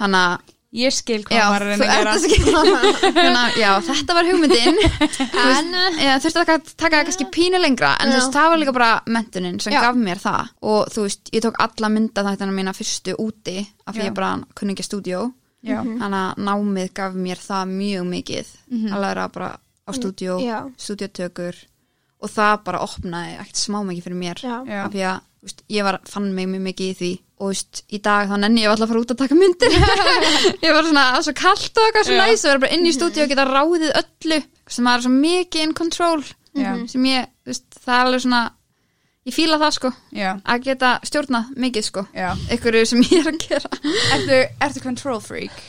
Speaker 1: þannig að
Speaker 2: ég skil hvað
Speaker 1: já,
Speaker 2: maður er að
Speaker 1: þú
Speaker 2: reyna að
Speaker 1: ert
Speaker 2: gera
Speaker 1: að skilja Þannig að, já, þetta var hugmyndin
Speaker 3: En
Speaker 1: Já, þurfti að taka- taka það kannski pínu lengra en
Speaker 3: Já.
Speaker 1: þú veist, það var líka bara mentunin sem
Speaker 3: Já.
Speaker 1: gaf mér það og þú veist, ég tók alla mynda þættina mína fyrstu úti af
Speaker 2: Já.
Speaker 1: því ég bara kunni ekki stúdíó
Speaker 2: já,
Speaker 3: Mhm.
Speaker 1: þannig að námið gaf mér það mjög mikið að læra bara á stúdíó
Speaker 3: Já.
Speaker 1: stúdíotökur og það bara opnaði ekkert smá mikið fyrir mér
Speaker 3: Já.
Speaker 2: Já.
Speaker 1: af því að þú veist, ég var, fann mig mjög mikið í því og þú veist, í dag þá nenni ég alltaf að fara út að taka myndir ég var svona það er svo kallt og eitthvað svo
Speaker 2: Já.
Speaker 1: næs að vera bara inn í stúdíó og
Speaker 3: Mhm.
Speaker 1: geta ráðið öllu sem maður er svo mikið in control
Speaker 2: Já.
Speaker 3: Mhm.
Speaker 1: sem ég, þú veist, það er alveg svona ég fíla það sko
Speaker 2: já,
Speaker 1: að geta stjórnað mikið sko
Speaker 2: já
Speaker 1: ykkur sem ég er að gera
Speaker 2: ertu, ertu control freak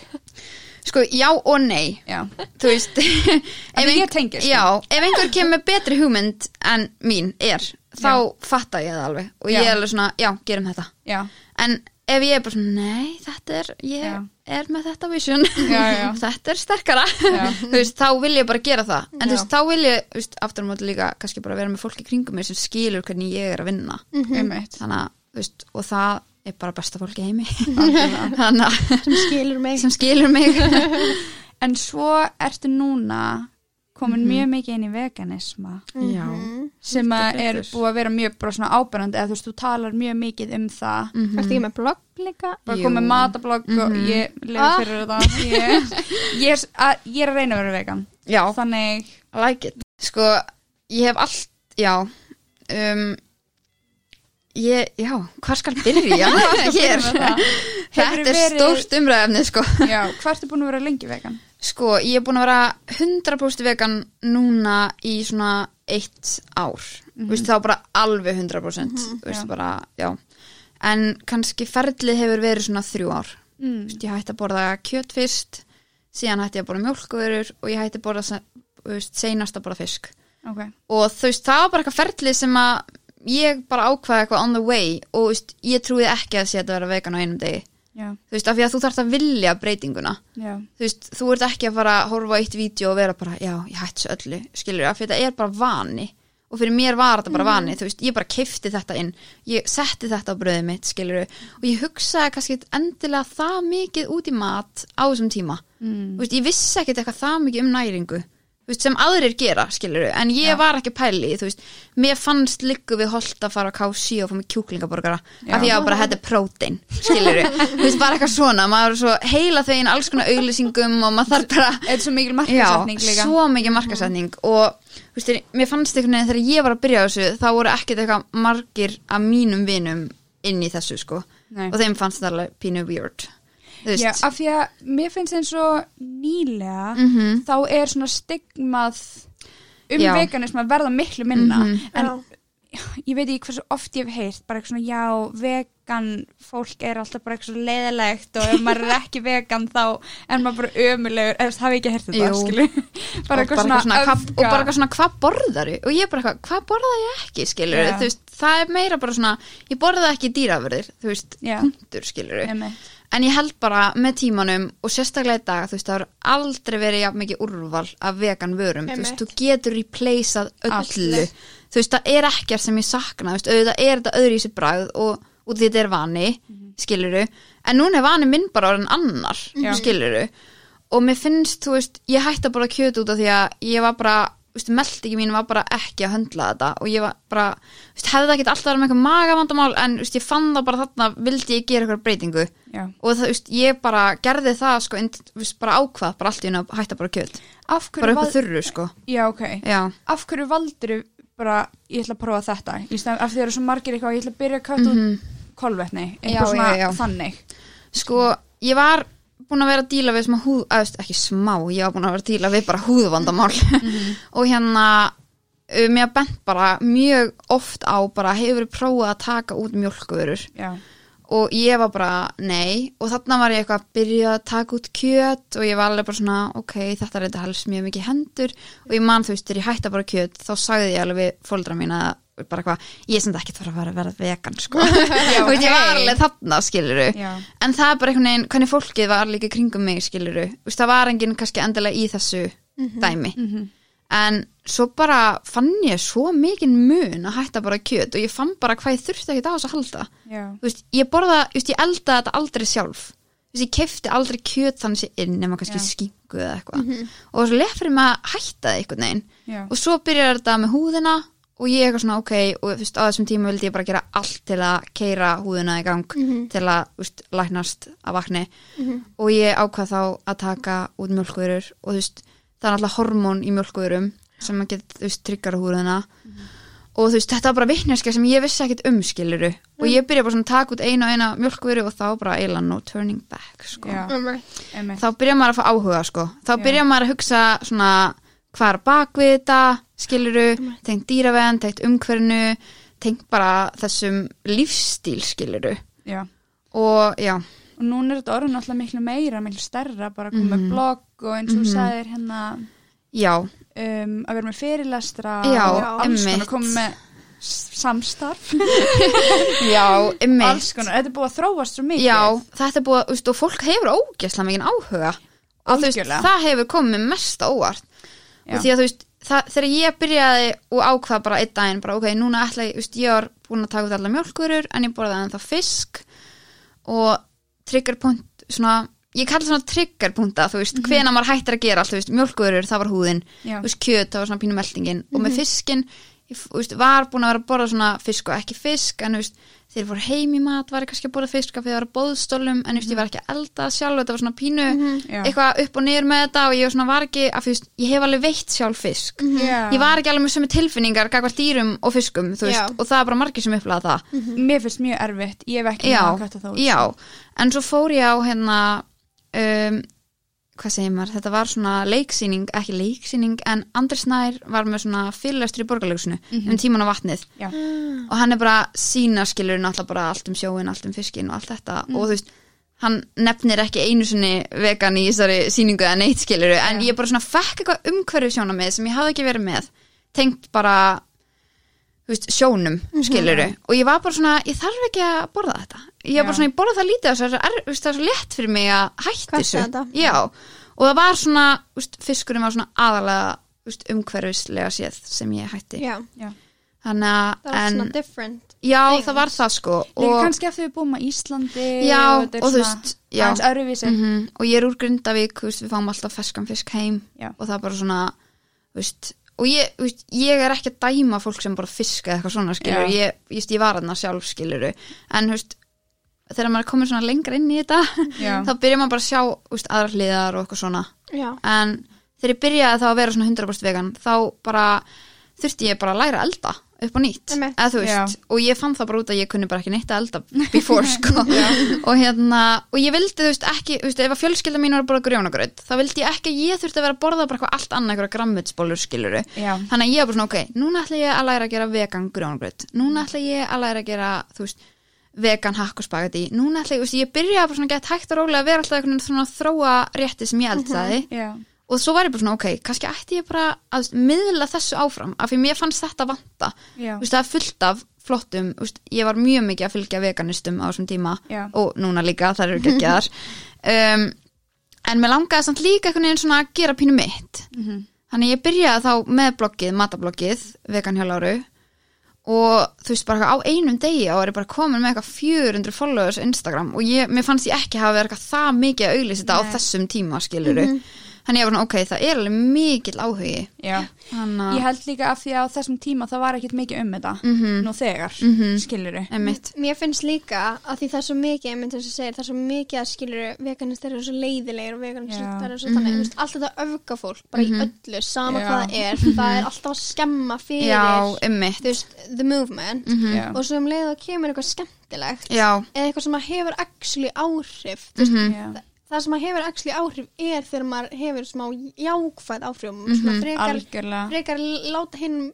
Speaker 1: sko já og nei
Speaker 2: já,
Speaker 1: þú veist
Speaker 2: Af
Speaker 1: ef,
Speaker 2: því ég
Speaker 1: einh-
Speaker 2: tengi, sko.
Speaker 1: já, ef einhver kemur með betri hugmynd en mín er þá fatta ég það alveg og ég
Speaker 2: Já.
Speaker 1: er alveg svona, já, gerum þetta
Speaker 2: já,
Speaker 1: en ef ég er bara svona, nei, þetta er ég
Speaker 2: Já.
Speaker 1: er með þetta vision
Speaker 2: Já, já.
Speaker 1: þetta er sterkara
Speaker 2: Já.
Speaker 1: þú veist, þá vil ég bara gera það en
Speaker 2: Já.
Speaker 1: þú veist, þá vil ég, þú veist, aftur á móti líka kannski bara vera með fólki kringum mér sem skilur hvernig ég er að vinna
Speaker 3: Mhm.
Speaker 2: einmitt
Speaker 1: þannig að, þú veist, og það er bara besta fólki í heimi
Speaker 2: Algjörlega.
Speaker 1: þannig að,
Speaker 3: sem skilur mig
Speaker 1: sem skilur mig
Speaker 2: en svo ertu núna komin
Speaker 1: Mhm.
Speaker 2: mjög mikið inn í veganisma
Speaker 1: já,
Speaker 3: Mhm.
Speaker 2: sem að
Speaker 1: Heldur
Speaker 2: er
Speaker 1: betur.
Speaker 2: búið að vera mjög bara svona ábærandi eða þú veist, þú talar mjög mikið um það
Speaker 1: Mhm.
Speaker 3: Ertu ekki með blogg líka?
Speaker 2: bara
Speaker 1: Mm. Jú. Mhm.
Speaker 2: komið matablogg og ég lefa
Speaker 3: Ah.
Speaker 2: fyrir þetta ég, ég, er, að, ég er að reyna að vera vegan
Speaker 1: já
Speaker 2: þannig,
Speaker 1: I like it Sko, ég hef allt, já um, Ég, já, hvað skal byrja hér?
Speaker 2: Hefurðu
Speaker 1: Ah, Þetta er
Speaker 2: verið-
Speaker 1: stórt umræðefni, sko
Speaker 2: já, hvað ertu búin að vera lengi vegan?
Speaker 1: Sko, ég hef búin að vera 100% vegan núna í svona eitt ár Veistu, þá bara alveg 100% Veistu,
Speaker 2: já.
Speaker 1: bara, já En kannski ferlið hefur verið svona þrjú ár
Speaker 2: Mm.
Speaker 1: Veistu, Ég hætti að borða kjöt fyrst síðan hætti ég að borða mjólkuverur og ég hætti að borða se- þú veist, seinast að borða fisk
Speaker 2: ok,
Speaker 1: og þú veist, það var bara eitthvað ferli sem að ég bara ákvaði eitthvað on the way og þú veist, ég trúið ekki að sé þetta að vera vegan á einum degi,
Speaker 2: já,
Speaker 1: þú veist, af því að þú þarft að vilja breytinguna,
Speaker 2: já,
Speaker 1: þú veist, þú ert ekki að fara að horfa á eitt vídeo og vera bara já, ég hætti svo öllu, skilur, af því að þetta er bara vani og fyrir mér var þetta bara vani þú veist, ég bara keifti þetta inn ég setti þetta á bröðið mitt, skilur og ég hugsaði kannski ekkert endilega það mikið út í mat á þessum tíma
Speaker 2: mm.
Speaker 1: Þú veist, ég vissi ekkert eitthvað það mikið um næringu Þú þú veist, sem aðrir gera, skilur en ég var ekki pæli, þú veist mér fannst líku við holt að fara á KC og fá mig kjúklingaborgara, af því að ég var bara þetta er prótein, skilur þú veist, bara eitthvað svona, maður er svo heila þegin alls konar auglýsingum og maður þarf bara
Speaker 2: Þetta er svo mikil
Speaker 1: Já,
Speaker 2: markasetning líka
Speaker 1: svo mikið markasetning og þú veist, mér fannst einhvern veginn þegar ég var að byrja á þessu þá voru ekkert eitthvað margir af mínum vinum inn í þessu sko
Speaker 2: Nei.
Speaker 1: og þeim fannst það alveg pínu weird þú
Speaker 2: Já,
Speaker 1: veist,
Speaker 2: af því að mér finnst eins og nýlega
Speaker 1: Mhm.
Speaker 2: þá er svona stigmað um
Speaker 1: Já.
Speaker 2: veganism að verða miklu minna
Speaker 1: Mhm.
Speaker 2: en
Speaker 3: Já.
Speaker 2: ég veit ekki hversu oft ég hef heyrt bara eitthvað svona já, vegan fólk er alltaf bara eitthvað svo leiðilegt og ef maður er ekki vegan þá er maður bara ömulegur, eða þú veist, hafi ekki heyrt þetta
Speaker 1: Jú.
Speaker 2: skilu, bara eitthvað svona,
Speaker 1: hvað,
Speaker 2: öfga.
Speaker 1: og bara eitthvað svona hvað borðaru og ég bara eitthvað, hvað borða ég ekki skilur
Speaker 2: Já.
Speaker 1: þú veist, það er meira bara svona ég borða ekki dýrafurðir, þú veist
Speaker 2: Já.
Speaker 1: punktur skilur
Speaker 2: Einmitt.
Speaker 1: en ég held bara með tímanum og sérstaklega í dag, þú veist, það hefur aldrei verið jafn mikið úrval af vegan vörum þú veist,
Speaker 3: Einmitt.
Speaker 1: þú getur replaceað öllu
Speaker 2: Allt.
Speaker 1: þú veist, það er ekkert sem ég sakna þú veist, auðvitað er þetta öðru í sér bragð og, og því þetta er vani, mm en núna er vani minn bara orðin annar mm
Speaker 2: Já.
Speaker 1: og mér finnst, þú veist, ég hætti að bara kjöta út af því að ég var bara þú veist, meldingi mín var bara ekki að höndla þetta og ég var bara, þú veist, hefði það ekki alltaf verið með eitthvað magavandamál en, þú veist, ég fann það bara þarna vildi ég gera eitthvað breytingu
Speaker 2: Já.
Speaker 1: og það, þú veist, ég bara gerði það sko, en, þú veist, bara ákvað, bara allt í hennu að hætta bara kjöld,
Speaker 2: af hverju
Speaker 1: bara upp á
Speaker 2: val-
Speaker 1: þurru sko.
Speaker 2: já, ok
Speaker 1: já,
Speaker 2: af hverju valdur bara, ég ætla að prófa þetta í stæðan, af því það eru svo margir eitthvað, ég ætla að byrja að kött út kolvetni,
Speaker 1: Mhm. Já,
Speaker 2: eitthvað svona
Speaker 1: já, já.
Speaker 2: þannig
Speaker 1: sko, ég var búin að vera að díla við smá húð, að, þú veist, ekki smá ég var búin að vera að díla við bara húðvandamál og hérna uh, mér bent bara mjög oft á bara hefur prófað að taka út mjólkvörur
Speaker 2: já,
Speaker 1: og ég var bara nei og þarna var ég eitthvað að byrja að taka út kjöt og ég var alveg bara svona ok, þetta er þetta helst mjög mikið í hendur og ég man þú veist, þegar ég hætti að bara kjöt þá sagði ég alveg við fóldra mína bara hvað, ég er sem þetta ekkert fara að vera, vera vegan sko,
Speaker 2: Já,
Speaker 1: þú veist, ég var
Speaker 2: ok.
Speaker 1: alveg þarna skiluru,
Speaker 2: Já.
Speaker 1: en það er bara einhvern veginn hvernig fólkið var líka í kringum mig skiluru veist, það var enginn kannski endilega í þessu
Speaker 2: Mhm.
Speaker 1: dæmi en svo bara fann ég svo mikinn mun að hætta bara kjöt og ég fann bara hvað ég þurfti ekkert á þess að halda
Speaker 2: já,
Speaker 1: þú veist, ég borða, þú veist, ég elda þetta aldrei sjálf þú veist, ég kefti aldrei kjöt þannig sé inn nema kannski
Speaker 2: Já. Mhm.
Speaker 1: skingu eða eitthvað og svo lefrið maður að hætta það einhvern veginn
Speaker 2: já,
Speaker 1: og svo byrjar þetta með húðina og ég eitthvað svona ok og þú veist, á þessum tíma vildi ég bara gera allt til að keira húðina í gang
Speaker 2: Mhm.
Speaker 1: til að þú veist, læknast að vakni og ég ákvað þá að taka út mjölkvörur og þú veist, það er alltaf hormón í mjölkvörum sem að geta, þú veist, tryggar húðina og þú veist, þetta var bara vitneskja sem ég vissi ekkit um skiluru og
Speaker 2: Mm.
Speaker 1: ég byrja bara svona að taka út eina og eina mjölkvöru og þá bara eiginlega no turning back sko
Speaker 2: já,
Speaker 3: Einmitt.
Speaker 2: einmitt
Speaker 1: þá byrja maður að fá áhuga sko. þá
Speaker 2: Já.
Speaker 1: byrja maður að hugsa svona hvað er bak við þetta, skiluru tengt dýravegan, tengt umhverfinu tengt bara þessum lífstíl skiluru
Speaker 2: já.
Speaker 1: og já,
Speaker 2: og núna er þetta orðin alltaf miklu meira miklu stærra, bara komið mm
Speaker 1: Mhm.
Speaker 2: blogg og eins og mm
Speaker 1: Mhm.
Speaker 2: sagðir hérna
Speaker 1: já,
Speaker 2: um, að vera með fyrirlestra
Speaker 1: Já,
Speaker 2: og alls konar
Speaker 1: einmitt.
Speaker 2: komið með s- samstarf,
Speaker 1: já,
Speaker 2: alls
Speaker 1: emmitt
Speaker 2: konar þetta er búið að þróast svo mikið
Speaker 1: já, þetta er búið, að- þú veist, og fólk hefur ógæsla mikið áhuga og þú veist,
Speaker 2: Algjörlega.
Speaker 1: það hefur komið mest á óvart
Speaker 2: Já.
Speaker 1: og því að þú veist, það, þegar ég byrjaði og ákvað bara einn daginn, bara ok, núna ætla ég, þú veist, ég var búin að taka út allar mjölkurur en ég borðaði ennþá fisk og triggerpunkt svona, ég kalla svona triggerpunta þú veist, mm
Speaker 2: Mhm.
Speaker 1: hvena maður hættir að gera allt, þú veist, mjölkurur það var húðin,
Speaker 2: Já. Mhm.
Speaker 1: þú veist, kjöt, það var svona pínu meltingin og með fiskin, ég, f- þú veist, var búin að vera að borða svona fisk og ekki fisk en þú veist, þeir voru heim í mat, var ég kannski að borða fisk af því að það var bóðstólum, en þú veist, ég var ekki að elda sjálf, þetta var svona pínu
Speaker 2: Mhm. Já.
Speaker 1: eitthvað upp og niður með þetta og ég var svona var ekki, af því, þú veist, ég hef alveg veitt sjálf fisk
Speaker 2: Já.
Speaker 1: ég var ekki alveg með sömu tilfinningar gagvart dýrum og fiskum, þú veist,
Speaker 3: Já.
Speaker 1: og það er bara margir sem upplega það
Speaker 2: mér finnst mjög erfitt, ég hef ekki
Speaker 1: já,
Speaker 2: náð að kötta þá sko. út.
Speaker 1: já, en svo fór ég á hérna um, hvað segir maður, þetta var svona leiksýning ekki leiksýning, en Andri Snær var með svona fyrirlestur í borgarlegsinu
Speaker 2: Mhm.
Speaker 1: um tíman á vatnið
Speaker 2: Já.
Speaker 1: og hann er bara sína skilur náttúrulega bara allt um sjóin, allt um fiskin og allt þetta
Speaker 3: Mm.
Speaker 1: og þú veist, hann nefnir ekki einu sinni vegan í þessari sýningu eða neitt skilur, en ég bara svona fekk eitthvað umhverju sjónamið sem ég hafði ekki verið með tengt bara þú veist, sjónum,
Speaker 3: Mhm.
Speaker 1: skiluru og ég var bara svona, ég þarf ekki að borða þetta ég var bara
Speaker 2: Já.
Speaker 1: svona, ég borða það lítið þess að það er, þú veist, það er svo létt fyrir mig að hætti
Speaker 3: Hverfa
Speaker 1: þessu
Speaker 3: þetta.
Speaker 1: Já, og það var svona, þú veist, fiskurinn var svona aðalega þú veist, umhverfislega séð sem ég hætti
Speaker 3: Já,
Speaker 2: Já.
Speaker 1: þannig
Speaker 3: það
Speaker 1: að,
Speaker 3: var
Speaker 1: en,
Speaker 3: svona different
Speaker 1: já,
Speaker 3: things.
Speaker 1: það var það sko
Speaker 2: Líka
Speaker 1: og,
Speaker 2: kannski af því við búum á Íslandi
Speaker 1: Já,
Speaker 2: þetta er
Speaker 1: og þú
Speaker 2: svona
Speaker 1: veist, já. Mhm.
Speaker 2: aðeins öruvísi
Speaker 1: mm og ég er úr Grindavík, þú veist, við fáum alltaf ferskan fisk heim
Speaker 2: Já.
Speaker 1: og það er bara svona, þú veist, og ég, þú veist, ég er ekki að dæma fólk sem bara fiska eða eitthvað svona skilur
Speaker 2: Já.
Speaker 1: ég, ég, veist, ég var hann að sjálf skilur en þú veist, þegar maður er komin svona lengra inn í þetta
Speaker 2: Já.
Speaker 1: þá byrjar maður bara að sjá þú veist, aðrar hliðar og eitthvað svona
Speaker 3: Já.
Speaker 1: en þegar ég byrjaði þá að vera svona 100% vegan þá bara þurfti ég bara að læra að elda upp á nýtt
Speaker 3: Einmitt.
Speaker 1: eða þú veist, og ég fann það bara út að ég kunni bara ekki neitt að elda before sko og hérna, og ég vildi þú veist ekki þú veist, ef að fjölskylda mín var að borða grjónagraut þá vildi ég ekki að ég þurfti að vera að borða bara eitthvað allt annað eitthvað grammitsbólur skiluru
Speaker 2: Já.
Speaker 1: þannig að ég var bara svona, ok, núna ætla ég að læra að gera vegan grjónagraut, núna ætla ég að læra að gera, þú veist, vegan hakk og spagetti, núna ætla ég, þú veist, ég byrjaði bara svona að geta hægt og rólega að vera alltaf einhvern veginn svona að þróa rétti sem ég eldaði
Speaker 2: Já.
Speaker 1: og svo var ég bara svona, ok, kannski ætti ég bara að þú veist, miðla þessu áfram, af því mér fannst þetta vanta,
Speaker 2: Já.
Speaker 1: þú veist, það er fullt af flottum, þú veist, ég var mjög mikið að fylgja veganistum á þessum tíma
Speaker 2: Já.
Speaker 1: og núna líka, það eru geggjaðar um, en mér langaði samt líka einhvern veginn svona að gera pínu mitt
Speaker 2: Mhm.
Speaker 1: þannig ég byrjaði þá með bloggið, matabloggið veganhjáláru og þú veist bara á einum degi og er ég bara komin með eitthvað 400 followers á Instagram og ég, mér fannst ég ekki hafa verið eitthvað það mikið að auglýsa þetta á
Speaker 2: Nei. Mhm.
Speaker 1: þessum tíma skiluru þannig ég var svona ok, það er alveg mikill áhugi
Speaker 2: Já.
Speaker 1: þannig
Speaker 2: Ég
Speaker 1: að,
Speaker 2: held líka af því að á þessum tíma það var ekkit mikið um þetta
Speaker 1: Mhm.
Speaker 2: nú þegar, mm skiluru
Speaker 1: emitt
Speaker 3: Mér finnst líka að því það er svo mikið, einmitt eins og segir, það er svo mikið að skilur veganist eru svo leiðilegir og veganist
Speaker 2: Já.
Speaker 3: eru svo þannig, þú veist, allt þetta öfga fólk bara í öllu, sama
Speaker 2: Já.
Speaker 3: hvað það er, það er alltaf að skemma fyrir,
Speaker 1: já, emitt
Speaker 3: þú veist, the movement
Speaker 1: Mhm.
Speaker 2: Já.
Speaker 3: og svo um leið og kemur eitthvað skemmtilegt
Speaker 1: já,
Speaker 3: eða eitthvað sem að hefur actually áhrif, þú veist,
Speaker 2: Já.
Speaker 3: það sem að hefur actually áhrif er þegar maður hefur smá jákvæð áhrif, mm -hmm. svona frekar
Speaker 2: Algjörlega.
Speaker 3: frekar láta hinn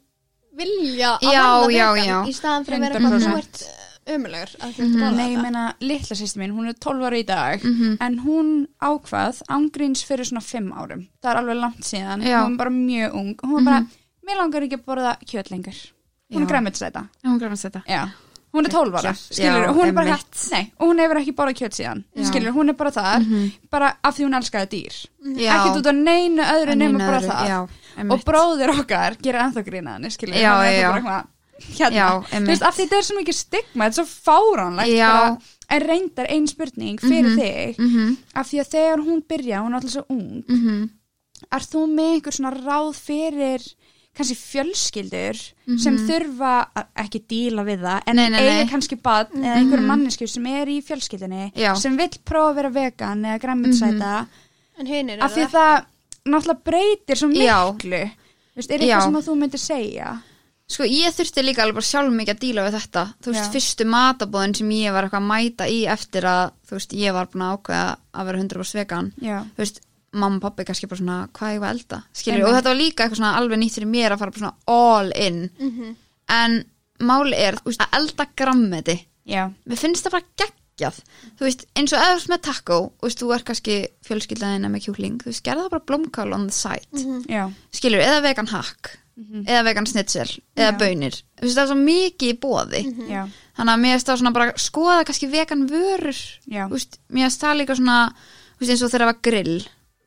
Speaker 3: vilja að
Speaker 1: Já,
Speaker 3: verða
Speaker 1: já,
Speaker 3: vegan
Speaker 1: já.
Speaker 3: í staðan fyrir að vera bara
Speaker 2: 100%.
Speaker 3: þú ert eh, ömulegur að þú ert að borða
Speaker 2: Mhm, Nei, ég
Speaker 3: þetta.
Speaker 2: meina, litla sýstu mín, hún er 12 ára í dag,
Speaker 1: Mhm.
Speaker 2: en hún ákvað ángríns fyrir svona 5 árum. Það er alveg langt
Speaker 1: Já.
Speaker 2: síðan,
Speaker 1: Mhm.
Speaker 2: hún var bara mjög ung. Hún var bara, mér langar ekki að borða kjöt lengur. Hún er
Speaker 1: Já.
Speaker 2: græmitsæta.
Speaker 1: hún græmast þetta
Speaker 2: Já. Hún er 12 ára,
Speaker 1: Geggjað.
Speaker 2: skilur,
Speaker 1: Já,
Speaker 2: hún er bara
Speaker 1: einmitt. Mhm.
Speaker 2: hætt, nei, og hún hefur ekki borðað kjöt síðan, skilur, hún er bara þar, bara af því hún elskaði dýr.
Speaker 1: Já.
Speaker 2: Ekkert út af neinu öðru
Speaker 1: En
Speaker 2: nema
Speaker 1: einu
Speaker 2: bara
Speaker 1: öðru,
Speaker 2: það.
Speaker 1: já,
Speaker 2: og
Speaker 1: einmitt.
Speaker 2: bróðir okkar gera ennþá grínaðan, skilur,
Speaker 1: Já,
Speaker 2: hann er
Speaker 1: já.
Speaker 2: bara eitthvað, hérna,
Speaker 1: Já,
Speaker 2: þú veist,
Speaker 1: einmitt.
Speaker 2: af því þetta er svo mikið stigma, þetta er svo fáránlegt
Speaker 1: Já.
Speaker 2: bara, en reyndar ein spurning fyrir þig,
Speaker 1: Mhm.
Speaker 2: af því að þegar hún byrja, hún er alltaf svo ung,
Speaker 1: Mhm.
Speaker 2: er þú með einhver svona ráð fyrir kannski fjölskyldur sem þurfa að ekki díla við það
Speaker 1: Mhm.
Speaker 2: en
Speaker 1: Nei, nei, nei. Mhm.
Speaker 2: eiga kannski bad eða einhver mannesku sem er í fjölskyldinni
Speaker 1: Já. Mhm.
Speaker 2: sem vill prófa að vera vegan eða græmminsæta
Speaker 3: en hinn er
Speaker 2: af því að það náttúrulega breytir svo
Speaker 1: Já.
Speaker 2: miklu Vist, er
Speaker 1: Já.
Speaker 2: eitthvað sem að þú myndir segja
Speaker 1: Sko ég þurfti líka alveg bara sjálf mikið að díla við þetta Þú veist,
Speaker 2: Já.
Speaker 1: fyrstu matabóðin sem ég var eitthvað að mæta í eftir að þú veist, ég var búin að ákveða að vera 100% vegan
Speaker 2: Já.
Speaker 1: Þú veist, mamma og pappi kannski bara svona hvað ég var að elda, skilur
Speaker 2: Einmitt.
Speaker 1: og þetta var líka eitthvað svona alveg nýtt fyrir mér að fara bara svona all in
Speaker 2: Mhm.
Speaker 1: en máli er, þú veist, að elda grammeti
Speaker 2: Já.
Speaker 1: mér finnst það bara geggjað þú veist, eins og eða með taco þú veist, þú er kannski fjölskyldaðina með kjúkling þú veist, gerða það bara blómkál on the side
Speaker 2: Já.
Speaker 1: skilur, eða vegan hack eða vegan snitsel, eða
Speaker 2: Já.
Speaker 1: baunir þú veist, það er svo mikið í bóði
Speaker 2: Já.
Speaker 1: þannig að mér finnst það svona bara að skoða kannski vegan vörur
Speaker 2: Já.
Speaker 1: Þú veist, mér finnst það líka svona þú veist, eins og þegar það var grill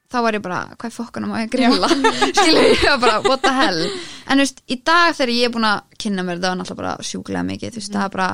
Speaker 1: þá var ég bara, hvað er fokkanum að ég að grilla skilur, ég var bara, what the hell en þú veist, í dag þegar ég er búin að kynna mér það var náttúrulega bara sjúklega mikið þú veist, það er bara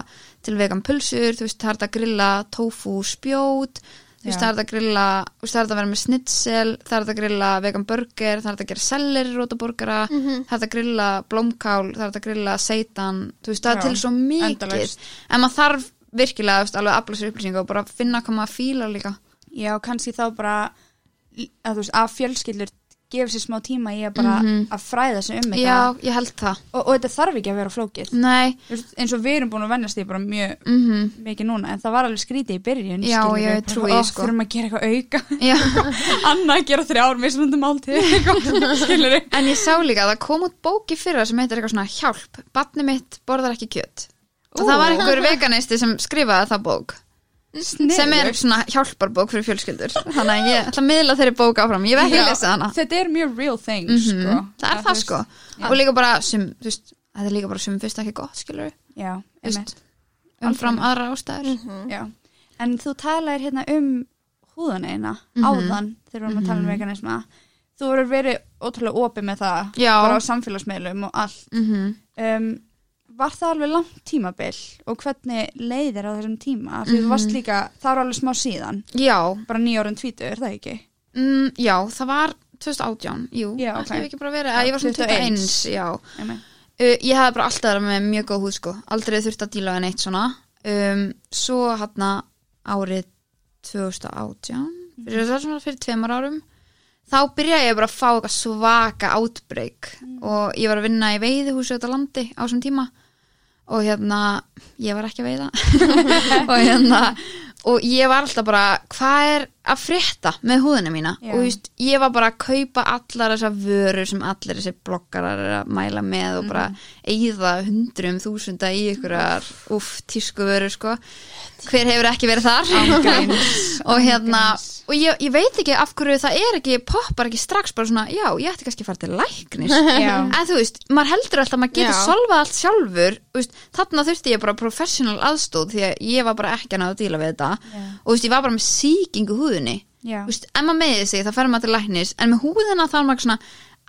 Speaker 1: til vegan pulsur þú veist, það er þetta að grilla tofu spjót þú veist,
Speaker 2: Já.
Speaker 1: það er þetta að grilla þú veist, það er þetta að vera með snitsel, það er þetta að grilla vegan burger, það er þetta að gera selleri rótaborgara,
Speaker 2: Mhm.
Speaker 1: það er þetta að grilla blómkál, það er þetta að grilla seitan þú veist, það
Speaker 2: Já,
Speaker 1: er til svo mikið
Speaker 2: endalaust.
Speaker 1: en maður þarf virkilega, þú veist, alveg að afla sér upplýsinga og bara finna hvað maður fílar líka
Speaker 2: Já, kannski þá bara að, þú veist, að fjölskyldur gefa sér smá tíma í að bara að fræða sig um þetta
Speaker 1: Mhm. Já, ég held það
Speaker 2: og, og þetta þarf ekki að vera flókið
Speaker 1: Nei,
Speaker 2: Þú veist, eins og við erum búin að vennast því bara mjög
Speaker 1: mm
Speaker 2: mikið núna, en það var alveg skrítið í byrjun
Speaker 1: Já,
Speaker 2: skilurðu,
Speaker 1: ég
Speaker 2: bara,
Speaker 1: trúi því,
Speaker 2: "Ó,
Speaker 1: sko."
Speaker 2: þurfum að gera eitthvað auka
Speaker 1: já
Speaker 2: Anna að gera þrjár mismundum áltíð skilur þið
Speaker 1: En ég sá líka að það kom út bóki fyrra sem heitir eitthvað svona hjálp, barni mitt borðar ekki kjöt og það var einhver veganisti sem skrifaði það bók sem er svona hjálparbók fyrir fjölskyldur þannig að ég ætla að miðla þeirri bók áfram ég veit ekki að lesa hana Mhm.
Speaker 2: þetta er mjög real thing sko.
Speaker 1: það er það
Speaker 2: Að þú
Speaker 1: sko
Speaker 2: veist-
Speaker 1: og líka bara sem, þú veist, þetta er líka bara sem fyrst ekki gott skilur
Speaker 2: já, einmitt.
Speaker 1: umfram aðra ástæður
Speaker 3: Mhm,
Speaker 2: já. en þú talaðir hérna um húðaneina, áðan þegar við erum að tala um veganisma þú voru verið ótrúlega opið með það
Speaker 1: Já.
Speaker 2: bara á samfélagsmiðlum og allt
Speaker 1: mm -hmm.
Speaker 2: um, var það alveg langt tímabil og hvernig leiðir á þessum tíma Af því þú varst líka, það var alveg smá síðan
Speaker 1: já,
Speaker 2: bara nýjórun tvítur, er það ekki?
Speaker 1: mm, já, það var 2018, jú,
Speaker 2: Já,
Speaker 1: ætlum
Speaker 2: ok.
Speaker 1: við ekki bara að vera að ég var svona
Speaker 2: 21.
Speaker 1: 21, já
Speaker 2: Ég meina.
Speaker 1: uh, ég hafði bara alltaf verið með mjög góð húð sko aldrei þurft að díla við neitt svona um, svo hann árið 2018
Speaker 2: Mhm.
Speaker 1: fyrir, það er svona fyrir tveimur árum þá byrjaði ég bara að fá eitthvað svaka outbreak
Speaker 2: Mm.
Speaker 1: og ég var að vinna í veiðihúsi út á landi á þessum tíma og hérna ég var ekki að veiða og hérna og ég var alltaf bara hvað er að frétta með húðina mína
Speaker 2: Já.
Speaker 1: og just, ég var bara að kaupa allar þessar vörur sem allir þessir bloggarar er að mæla með og bara eigða hundrum þúsunda í ykkurar uff, tísku vörur sko hver hefur ekki verið þar og hérna og ég, ég veit ekki af hverju það er ekki poppar ekki strax bara svona, já, ég ætti kannski að fara til læknis
Speaker 2: Já.
Speaker 1: en þú veist, maður heldur alltaf að maður getur
Speaker 3: Já.
Speaker 1: solvað allt sjálfur þú veist, þarna þurfti ég bara professional aðstóð því að ég var bara ekki að náða að díla við þetta
Speaker 2: Já.
Speaker 1: og þú veist, ég var bara með sýkingu í húðinni
Speaker 2: Já.
Speaker 1: Þú veist, ef maður meðið sig, þá fer maður til læknis en með húðina þá er maður svona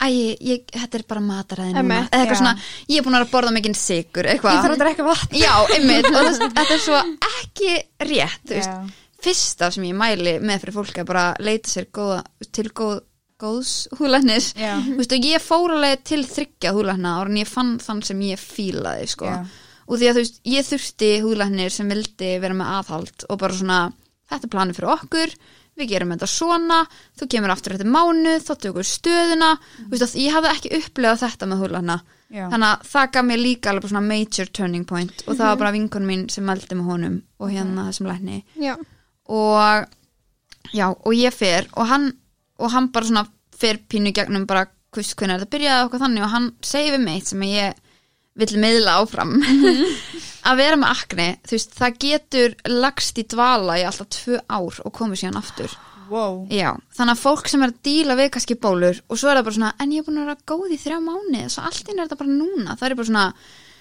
Speaker 1: æ, ég, þetta er bara mataræðin núna
Speaker 3: Einmitt,
Speaker 1: eða eitthvað
Speaker 2: já.
Speaker 1: svona, ég er búin að borða mikinn sigur eitthvað
Speaker 2: Ég þarf að drekka vatn
Speaker 1: Já, einmitt, og þess, þetta er svo ekki rétt, þú
Speaker 2: Já.
Speaker 1: veist, fyrsta sem ég mæli með fyrir fólk er bara að leita sér góða, til góð, góðs húlæknis,
Speaker 2: Já.
Speaker 1: þú veist, og ég fór alveg til þryggja húlækna ára en ég fann þann sem ég fílaði, sko,
Speaker 2: Já.
Speaker 1: og því að þú veist, ég þurfti húlæknir sem vildi vera með aðhald og bara svona, þetta er planið fyrir okkur, við gerum þetta svona, þú kemur aftur þetta mánu, þá tökur stöðuna, þú veist, að ég hafði ekki upplegað þetta með húlækna,
Speaker 2: Já.
Speaker 1: þannig að það gaf mér líka alveg bara svona major turning point og það var bara vinkun mín sem meldi með honum og hérna þessum lækni
Speaker 3: Já.
Speaker 1: og já, og ég fer og hann, og hann bara svona fer pínu í gegnum bara hvist hvernig þetta byrjaði og eitthvað þannig og hann segir við mig eitt sem ég vill meðla áfram að vera með akne, þú veist, það getur lagst í dvala í alltaf tvö ár og komið síðan aftur
Speaker 2: Wow.
Speaker 1: Já, þannig að fólk sem er að díla við kannski bólur og svo er það bara svona, en ég er búin að vera góð í þrjá mánu, svo allt inn er þetta bara núna það er bara svona,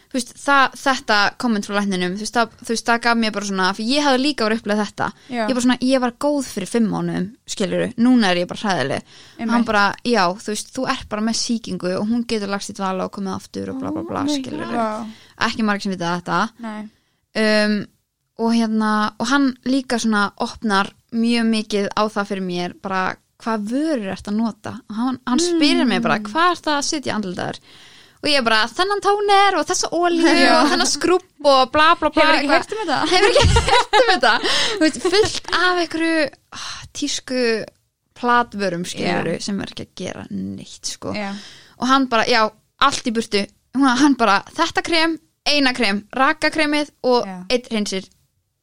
Speaker 1: þú veist, það, þetta komment frá lækninum, þú veist, það, þú veist, það gaf mér bara svona, fyrir ég hafði líka verið upplega þetta
Speaker 2: Já.
Speaker 1: ég bara svona, ég var góð fyrir fimm mánuðum skiljuru, núna er ég bara hræðileg
Speaker 2: Einmitt.
Speaker 1: hann bara, já, þú veist, þú ert bara með sýkingu og hún getur lagst í dvala og komið aftur og bla bla bla,
Speaker 3: Oh my
Speaker 1: skiljuru
Speaker 2: Wow.
Speaker 1: ekki marg sem vita þetta
Speaker 2: Nei.
Speaker 1: um, og hérna og hann líka svona opnar mjög mikið á það fyrir mér bara hvað vörur ert að nota og hann, hann spyrir mig
Speaker 2: Mm.
Speaker 1: bara hvað ert að setja andlitaður og ég bara þennan tóner og þessa ólíu og þennan skrúpp og bla bla bla
Speaker 2: Hefur ekki
Speaker 1: eitthvað.
Speaker 2: heyrt
Speaker 1: hefur
Speaker 2: um þetta?
Speaker 1: ekki hert um þetta Þú veist, fullt af einhverju ah, tísku platvörum skiluru sem er ekki að gera neitt sko
Speaker 2: Já.
Speaker 1: og hann bara, já, allt í burtu Hún- hann bara, þetta krem, eina krem rakakremið og
Speaker 2: Já.
Speaker 1: eitt hreinsir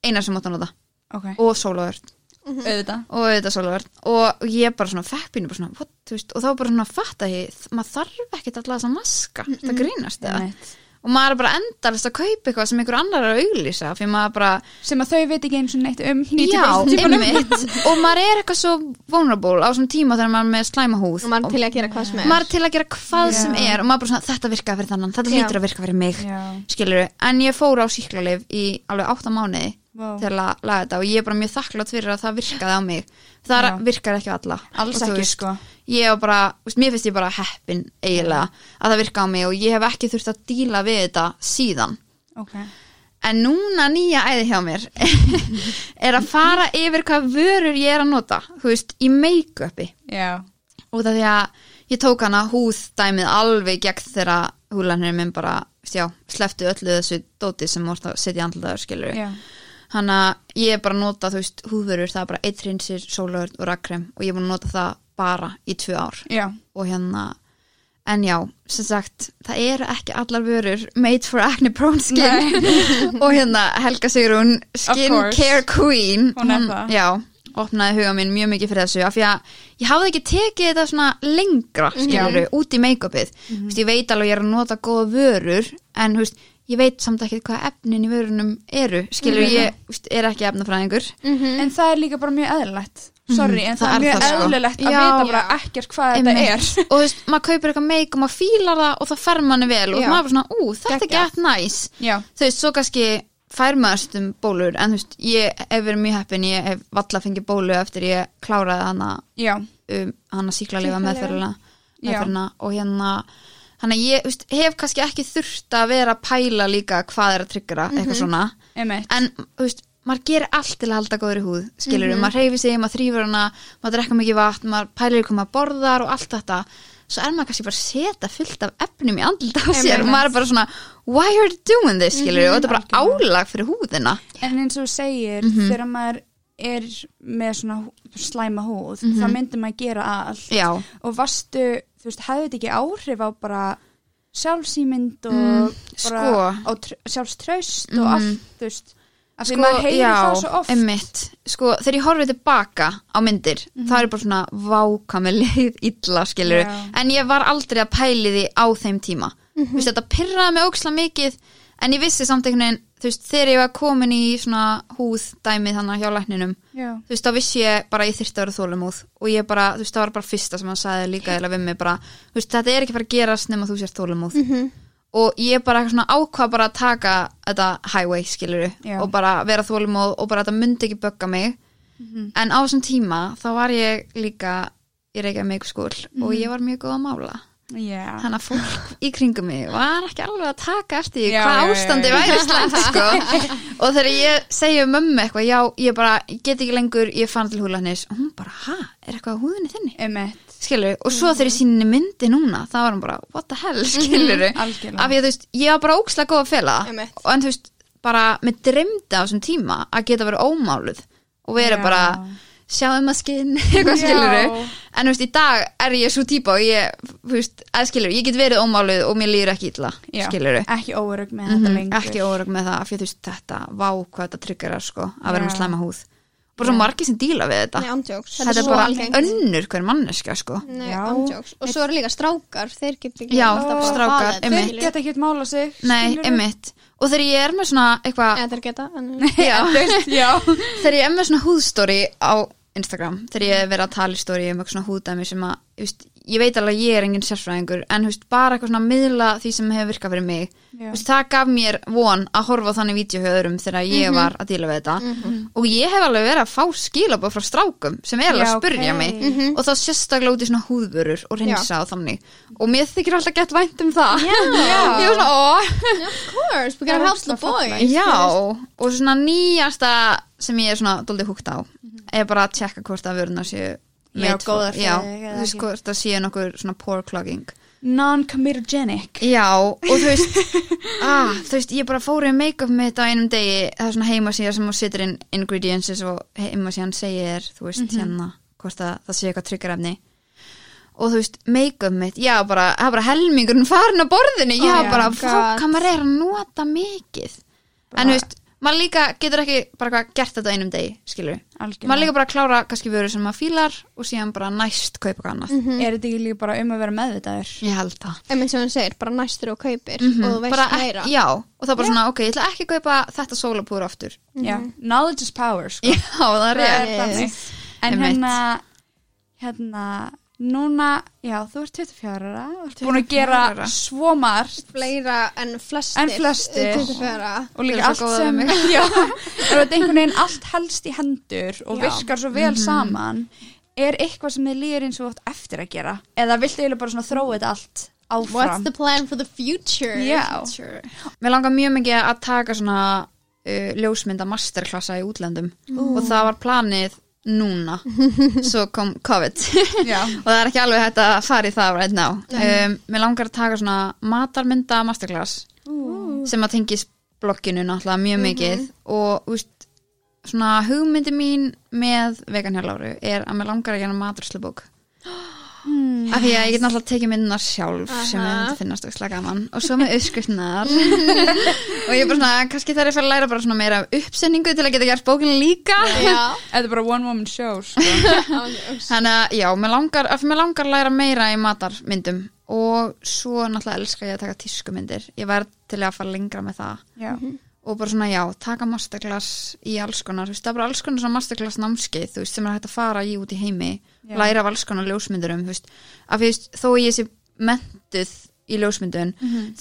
Speaker 1: eina sem átt að nota
Speaker 2: Ok.
Speaker 1: og sólaverð
Speaker 2: Auðvitað.
Speaker 1: og þetta sólaverð og ég bara svona fekk pínu bara svona, what, þú veist, og þá bara svona fatt að ég, maður þarf ekkert alltaf þess að maska þetta grínast eða
Speaker 2: Einmitt.
Speaker 1: og maður er bara endalist að kaupa eitthvað sem einhver annar er að auglýsa fyrir maður bara,
Speaker 2: Sem að þau veit ekki eins og neitt um 90%
Speaker 1: já,
Speaker 2: tímanum.
Speaker 1: einmitt og maður er eitthvað svo vulnerable á svona tíma þegar maður er með slæma húð
Speaker 3: Og maður er til að gera hvað sem er.
Speaker 1: maður er til að gera hvað
Speaker 2: Já.
Speaker 1: sem er og maður bara svona, þetta virkaði fyrir þannan, þetta
Speaker 3: Já.
Speaker 1: hlýtur að virka fyrir mig
Speaker 2: Já.
Speaker 1: skilur en ég fór á síklarleif í alveg 8 mánuði
Speaker 2: Vá.
Speaker 1: til að laga þetta og ég er bara mjög þakklátt fyrir að það virkaði á mig það
Speaker 2: Já.
Speaker 1: virkar ekki á alla
Speaker 2: Alls
Speaker 1: Og þú
Speaker 2: ekki,
Speaker 1: veist,
Speaker 2: sko.
Speaker 1: ég var bara, þú veist, mér finnst ég bara heppin eiginlega að það virka á mig og ég hef ekki þurft að díla við þetta síðan
Speaker 2: Ok.
Speaker 1: en núna nýja æði hjá mér er að fara yfir hvað vörur ég er að nota þú veist, í make-upi
Speaker 2: Já.
Speaker 1: út af því að ég tók hana húðdæmið alveg gegn þeirra húlanir minn bara, já, sleftu öllu þessu dóti sem mórst að setja andlaður skilur
Speaker 2: Já.
Speaker 1: hann að ég bara nota þú veist, húðverur, það er bara eitt hrinsir, sólöður og rakkrem og ég er búin að nota það bara í tvö ár
Speaker 2: Já.
Speaker 1: og hérna en já, sem sagt, það eru ekki allar vörur made for acne prone skin og hérna Helga Sigrun
Speaker 2: course.
Speaker 1: skincare queen
Speaker 2: Hún er það.
Speaker 1: já, opnaði huga minn mjög mikið fyrir þessu af því að ég hafði ekki tekið þetta svona lengra skilur út í make-upið
Speaker 2: Mhm.
Speaker 1: mm -hmm. ég veit alveg ég er að nota góða vörur en þú veist, ég veit samt ekki hvað efnin í vörunum eru skilur ég þú veist, er ekki efnafræðingur
Speaker 2: En það er líka bara mjög eðlilegt. Sorry, en
Speaker 1: það
Speaker 2: Mm. það, er
Speaker 1: er
Speaker 2: mjög
Speaker 1: það, sko.
Speaker 2: eðlilegt að
Speaker 1: Já.
Speaker 2: vita bara ekkert hvað þetta
Speaker 1: Einmitt.
Speaker 2: er.
Speaker 1: og þú veist, maður kaupir eitthvað make og maður fílar það og það fer manni vel og
Speaker 2: Já.
Speaker 1: maður er bara svona, ú, þetta er
Speaker 2: Geggjað.
Speaker 1: gett næs
Speaker 2: Já.
Speaker 1: þú veist, svo kannski fær maður stum bólur en þú veist, ég hef verið mjög heppin ég hef valla fengið bólu eftir ég kláraði hana
Speaker 2: Já.
Speaker 1: um, hana síklalega
Speaker 3: Sýklalyfja.
Speaker 1: meðferðina meðferðina og hérna hann að ég þú veist, hef kannski ekki þurft að vera að pæla líka hvað er að tryggra eitthvað svona
Speaker 2: Einmitt.
Speaker 1: en þú veist, maður gerir allt til að halda góður í húð skilur maður reyfi sig, maður þrýfur hana maður drekka mikið vatn, maður pælir í hvað maður borðar og allt þetta, svo er maður kannski bara að setja fullt af efnum í andlut á sér og maður er bara svona, why are you doing this skilur og þetta er bara álag fyrir húðina
Speaker 2: En eins og þú segir, þegar maður er með svona hú- slæma húð, þá myndir maður gera allt.
Speaker 1: já,
Speaker 2: Og varstu, þú veist, hafði þetta ekki áhrif á bara sjálfsýmynd og
Speaker 1: Mm,
Speaker 2: bara á tr sjálfströst og allt, þú veist. Af því
Speaker 1: sko,
Speaker 2: maður heyrir
Speaker 1: já,
Speaker 2: það svo oft.
Speaker 1: einmitt sko, þegar ég horfið tilbaka á myndir
Speaker 2: Mhm.
Speaker 1: það er bara svona váka með leið illa, skilur,
Speaker 2: Já. Mhm.
Speaker 1: en ég var aldrei að pæli því á þeim tíma þú veist, þetta pirraði mig óksla mikið en ég vissi samt einhvern veginn, þú veist, þegar ég var komin í svona húðdæmi þannig hjá lækninum,
Speaker 2: Já.
Speaker 1: þú veist, þá vissi ég bara að ég þyrfti að vera þólumóð og ég bara, þú veist, það var bara fyrsta sem hann sagði líka eða við mig bara, þú veist, þetta er ekki bara að gerast nema þú sér þólumóð og ég bara eitthvað svona ákvað bara að taka þetta highway, skilur
Speaker 2: Já.
Speaker 1: og bara vera þólumóð og bara þetta myndi ekki bögga mig en á þessum tíma þá var ég líka í reykja mig skúl og ég var mjög góð að mála
Speaker 2: Já.
Speaker 1: þannig að fólk í kringum mig var ekki alveg að taka eftir því
Speaker 2: Já,
Speaker 1: hvað
Speaker 2: já, já,
Speaker 1: ástandi
Speaker 2: já.
Speaker 1: væri slæmt sko. og þegar ég segi mömmu eitthvað já, ég bara ég get ekki lengur, ég fann til húlanis og hún bara, ha, er eitthvað á húðinni þinni?
Speaker 2: Einmitt.
Speaker 1: skilur, og
Speaker 2: Mhm.
Speaker 1: svo þegar ég síni myndi núna þá var hún bara, what the hell, skilur af því
Speaker 2: Algjörlega.
Speaker 1: að þú veist, ég var bara ókslega góð að fela það.
Speaker 3: Einmitt.
Speaker 1: og en þú veist, bara mér dreymdi á þessum tíma að geta verið ómáluð og verið
Speaker 2: Já.
Speaker 1: bara, sjáum að skinn eitthvað
Speaker 2: Já.
Speaker 1: skilur en þú veist, í dag er ég svo típa og ég, þú veist, að skilur ég get verið ómáluð og mér líður ekki illa
Speaker 2: Já.
Speaker 1: skilur
Speaker 2: Ekki óörug með þetta lengur.
Speaker 1: Mhm, ekki órug með það, af því að þú veist, þetta vá hvað þetta tryggar er sko, að vera með
Speaker 2: Já.
Speaker 1: slæma húð bara svo margir sem díla við þetta
Speaker 3: Nei, andjóks.
Speaker 1: þetta er
Speaker 3: svo
Speaker 1: bara
Speaker 3: algengt.
Speaker 1: önnur hver manneska sko
Speaker 2: Mm.
Speaker 3: Nei,
Speaker 2: Já.
Speaker 3: andjóks. Og svo eru líka strákar, þeir getur ekki
Speaker 1: Já,
Speaker 3: alltaf bara
Speaker 1: strákar,
Speaker 3: baðað,
Speaker 1: einmitt.
Speaker 2: Þeir
Speaker 3: skilurðu.
Speaker 2: geta ekki mála sig.
Speaker 1: Nei,
Speaker 2: skilurðu?
Speaker 1: einmitt. Og þegar ég er með svona eitthvað,
Speaker 3: Eða þeir geta, en...
Speaker 1: já,
Speaker 2: Þú veist, Já.
Speaker 1: þegar ég er með svona húðstóri á Instagram, þegar ég er verið að tala í stóri um eitthvað svona húðdæmi sem að, þú veist, ég veit alveg að ég er engin sérfræðingur, en þú veist, bara eitthvað svona að miðla því sem hefur virkað fyrir mig.
Speaker 2: Já.
Speaker 1: Þú veist, það gaf mér von að horfa á þannig vídeohöðurum þegar ég
Speaker 2: Mhm.
Speaker 1: var að díla við þetta og ég hef alveg verið að fá skilabóð frá strákum sem er alveg
Speaker 2: Já,
Speaker 1: að spurja
Speaker 2: ok. Mhm.
Speaker 1: mig og þá sérstaklega út í svona húðvörur og reynsa og þannig og mér þykir alltaf gett vænt um það
Speaker 3: Já.
Speaker 1: ég var svona, ó,
Speaker 3: Of course,
Speaker 2: Það
Speaker 3: we gotta
Speaker 2: er
Speaker 3: help the
Speaker 2: ógeðslega fallegt.
Speaker 3: boy.
Speaker 1: Já, og svona nýjasta sem ég er svona doldið húgt á er bara að tjekka hvort að vöruna séu
Speaker 2: Mhm. Já,
Speaker 1: made for-
Speaker 2: góðar fyrir
Speaker 1: já,
Speaker 2: þig eða
Speaker 1: þú veist
Speaker 2: ekki.
Speaker 1: hvort að séu nokkur svona pore clogging
Speaker 2: Non-comedogenic.
Speaker 1: Já, og þú veist ah, þú veist, ég bara fór í make-up mitt á einum degi, það er svona heimasíða sem hún setur inn ingredientsins og heimasíðan segir, þú veist,
Speaker 3: Mhm.
Speaker 1: hérna hvort að það sé eitthvað tryggarefni og þú veist, make-up mitt, já bara, það er bara helmingurinn farin á borðinu já,
Speaker 3: Oh my
Speaker 1: bara,
Speaker 3: God.
Speaker 1: fá, hvað maður er að nota mikið en þú veist, maður líka getur ekki bara eitthvað gert þetta á einum degi, skilur við maður
Speaker 2: Algjörlega.
Speaker 1: líka bara að klára kannski vöru sem maður fílar og síðan bara næst kaupa eitthvað
Speaker 3: Mm.
Speaker 1: annað
Speaker 2: Er þetta ekki líka bara um að vera meðvitaður?
Speaker 1: ég held það
Speaker 3: En eins og hann segir, bara næstur og kaupir
Speaker 1: Mhm.
Speaker 3: og þú veist
Speaker 1: bara ekki,
Speaker 3: meira.
Speaker 1: já, og það er bara svona, ok, ég ætla ekki að kaupa þetta sólapúður aftur
Speaker 2: Já, knowledge is power sko.
Speaker 1: já, það er rétt
Speaker 2: Það er
Speaker 3: Yes.
Speaker 2: þannig. En
Speaker 1: Einmitt.
Speaker 2: hérna hérna, núna já, þú ert 24 ára þú ert búin að gera
Speaker 1: ára.
Speaker 2: svo margt
Speaker 3: Fleira en flestir.
Speaker 2: En flestir.
Speaker 3: um 24.
Speaker 2: og
Speaker 1: Þú
Speaker 2: líka
Speaker 1: ert
Speaker 2: allt
Speaker 1: svo góð
Speaker 2: sem
Speaker 1: við
Speaker 2: já, er þetta einhvern veginn allt helst í hendur og
Speaker 3: Já.
Speaker 2: virkar svo vel saman er eitthvað sem þið líður eins og þú átt eftir að gera eða viltu eiginlega bara svona þróa þetta allt
Speaker 3: What's
Speaker 2: áfram
Speaker 3: the plan for the future?
Speaker 2: Já.
Speaker 3: Future.
Speaker 1: mér langar mjög mikið að taka svona uh, ljósmynda masterklassa í útlöndum og það var planið núna svo kom COVID
Speaker 2: Já.
Speaker 1: og það er ekki alveg hægt að fara í það right now um, mér langar að taka svona matarmynda masterclass sem að tengis blogginu náttúrulega mjög mikið og úst, svona hugmyndi mín með veganhjáláru er að mér langar að gera maturslubók af því að ég get náttúrulega tekið myndunar sjálf sem ég myndi finnast auðvitað gaman og svo með uppskrifnar og ég er bara svona, kannski þarf ég að fara að læra bara svona meira af uppsetningu til að geta gert bókinu líka
Speaker 3: Já.
Speaker 2: Þetta er bara one woman show sko.
Speaker 3: Ángjóks.
Speaker 1: Þannig að já, mér langar, af því mér langar að læra meira í matarmyndum og svo náttúrulega elska ég að taka tískumyndir. Ég verð til að fara lengra með það
Speaker 2: Já.
Speaker 1: og bara svona já, taka masterclass í alls konar, þú veist, það er bara alls konar svona masterclass námskeið, þú veist, sem er hægt að fara í út í heimi,
Speaker 2: Já.
Speaker 1: læra af alls konar ljósmyndurum, þú veist, af því þú veist, þó ég sé mentuð í ljósmyndun,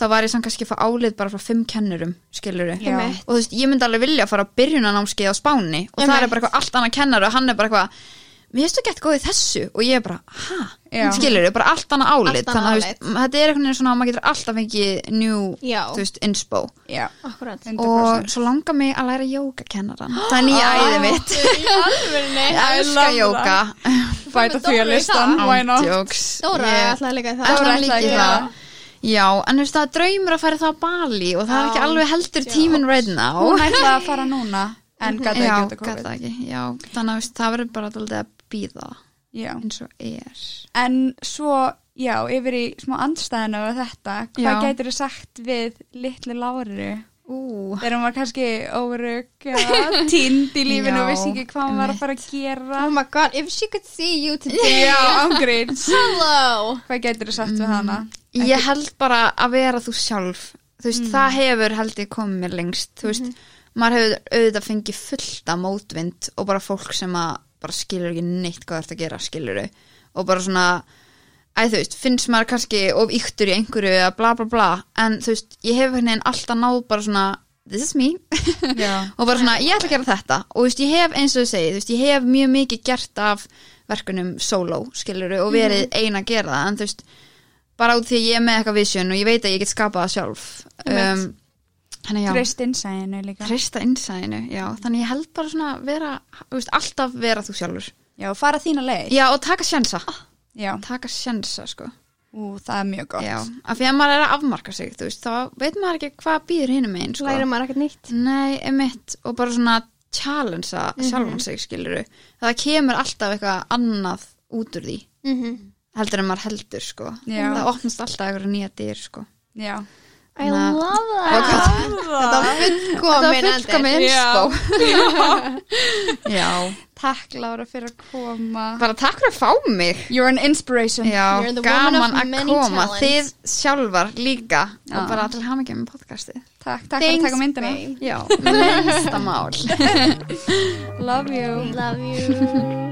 Speaker 1: þá var ég samt kannski að fá álið bara frá fimm kennurum, skilur
Speaker 2: Já.
Speaker 3: Einmitt.
Speaker 1: og þú veist, ég myndi alveg vilja að fara á byrjunanámskeið á Spáni og það er
Speaker 3: Einmitt.
Speaker 1: bara eitthvað allt annað kennar og hann er bara eitthvað mér finnst þú gett góð í þessu og ég er bara, hæ,
Speaker 2: Já.
Speaker 1: skilur þau, bara allt annað álit,
Speaker 3: Allt annað
Speaker 1: að þú veist, þetta er einhvern veginn svona að maður getur alltaf fengið njú,
Speaker 3: Já.
Speaker 1: þú veist, inspo
Speaker 2: já,
Speaker 3: Akkurat.
Speaker 2: 100%.
Speaker 1: og svo langar mig að læra jógakennaran það er nýja æðið mitt ég
Speaker 2: Ah, I
Speaker 1: elska
Speaker 2: love
Speaker 1: jóga
Speaker 2: bæta því að
Speaker 3: Dóra í
Speaker 2: listan,
Speaker 3: það?
Speaker 2: why not?
Speaker 1: Jokes.
Speaker 3: Dóra
Speaker 1: Ég-
Speaker 3: yeah. ætlaði líka í það.
Speaker 1: Dóra
Speaker 2: Dóra
Speaker 1: líka
Speaker 2: ætlaði
Speaker 1: í
Speaker 2: í
Speaker 1: það Já, en þú veist það er draumur að fara það á Bali og það er ekki
Speaker 3: Já,
Speaker 1: alveg heldur tíminn right now
Speaker 2: hún ætlaði að fara núna en gæti
Speaker 1: Mhm. Já,
Speaker 2: ekki út af
Speaker 1: gat það
Speaker 2: COVID
Speaker 1: ekki Já, þannig að þú veist, það verður bara dálítið að býða
Speaker 2: já.
Speaker 1: eins og er
Speaker 2: en svo, já, yfir í smá andstæðinu og þetta,
Speaker 1: Já.
Speaker 2: hvað gætir þú sagt við litlu láru
Speaker 1: Ú,
Speaker 2: þegar hún var kannski órug eða tínd í lífinu
Speaker 1: Já,
Speaker 2: og vissi ekki hvað hún var
Speaker 1: einmitt.
Speaker 2: að fara að gera
Speaker 3: Oh my god, if she could see you today.
Speaker 2: já, ángríns
Speaker 3: Hello.
Speaker 2: hvað gætir þú sagt við hana?
Speaker 1: Ég held bara að vera þú sjálf þú veist, það hefur held ég komið mér lengst þú veist, maður hefur auðvitað fengið fullt af mótvind og bara fólk sem að bara skilur ekki neitt hvað þú ert að gera skilur og bara svona æ, þú veist, finnst maður kannski of yktur í einhverju eða bla bla bla en þú veist, ég hef hérna alltaf náð bara svona this is me
Speaker 2: já,
Speaker 1: og bara svona, ég ætla að gera þetta og þú veist, ég hef eins og þú segið, þú veist, ég hef mjög mikið gert af verkunum solo, skiluru, og verið
Speaker 2: Mhm.
Speaker 1: mm. eina að gera það, en þú veist bara út því að ég er með eitthvað vision og ég veit að ég get skapað það sjálf um,
Speaker 2: Einmitt.
Speaker 1: þannig já,
Speaker 2: treyst innsæðinu líka
Speaker 1: treysta innsæðinu já, þannig ég held bara svona að vera þú veist, alltaf vera þú sjálfur
Speaker 2: já, fara þína leið
Speaker 1: já, og taka sjensa,
Speaker 2: já,
Speaker 1: taka sjensa sko.
Speaker 2: ú, það er mjög Ah. gott
Speaker 1: já, af því að maður er að afmarka sig þú veist, þá veit maður ekki hvað býður hinum einn sko.
Speaker 3: Læra maður ekkert nýtt.
Speaker 1: Nei, emitt og bara svona challengea
Speaker 3: Mhm.
Speaker 1: sjálfan sig skiluru. Það kemur alltaf eitthvað annað út úr því
Speaker 3: Mm
Speaker 1: heldur en maður heldur sko.
Speaker 2: Já.
Speaker 1: Það opnast alltaf eitthvað nýja dyr sko.
Speaker 2: já,
Speaker 3: I
Speaker 1: Na- Og
Speaker 3: love that.
Speaker 1: hvað-
Speaker 3: Ah, Þetta var
Speaker 1: Þetta
Speaker 3: fullkomin
Speaker 1: er fullkomin
Speaker 2: Já.
Speaker 1: innspó. Já.
Speaker 2: takk Lára fyrir að koma
Speaker 1: Bara takk fyrir að fá mig.
Speaker 2: You're an inspiration
Speaker 1: Já,
Speaker 3: You're the woman
Speaker 1: gaman
Speaker 3: of
Speaker 1: að
Speaker 3: many
Speaker 1: koma.
Speaker 3: talents.
Speaker 1: Þið sjálfar líka
Speaker 2: Já.
Speaker 1: og bara til hafa með podcastið.
Speaker 2: Takk, takk fyrir að
Speaker 3: Thanks,
Speaker 2: taka myndina
Speaker 3: babe.
Speaker 1: Já, lengsta mál.
Speaker 2: Love you
Speaker 3: Love you.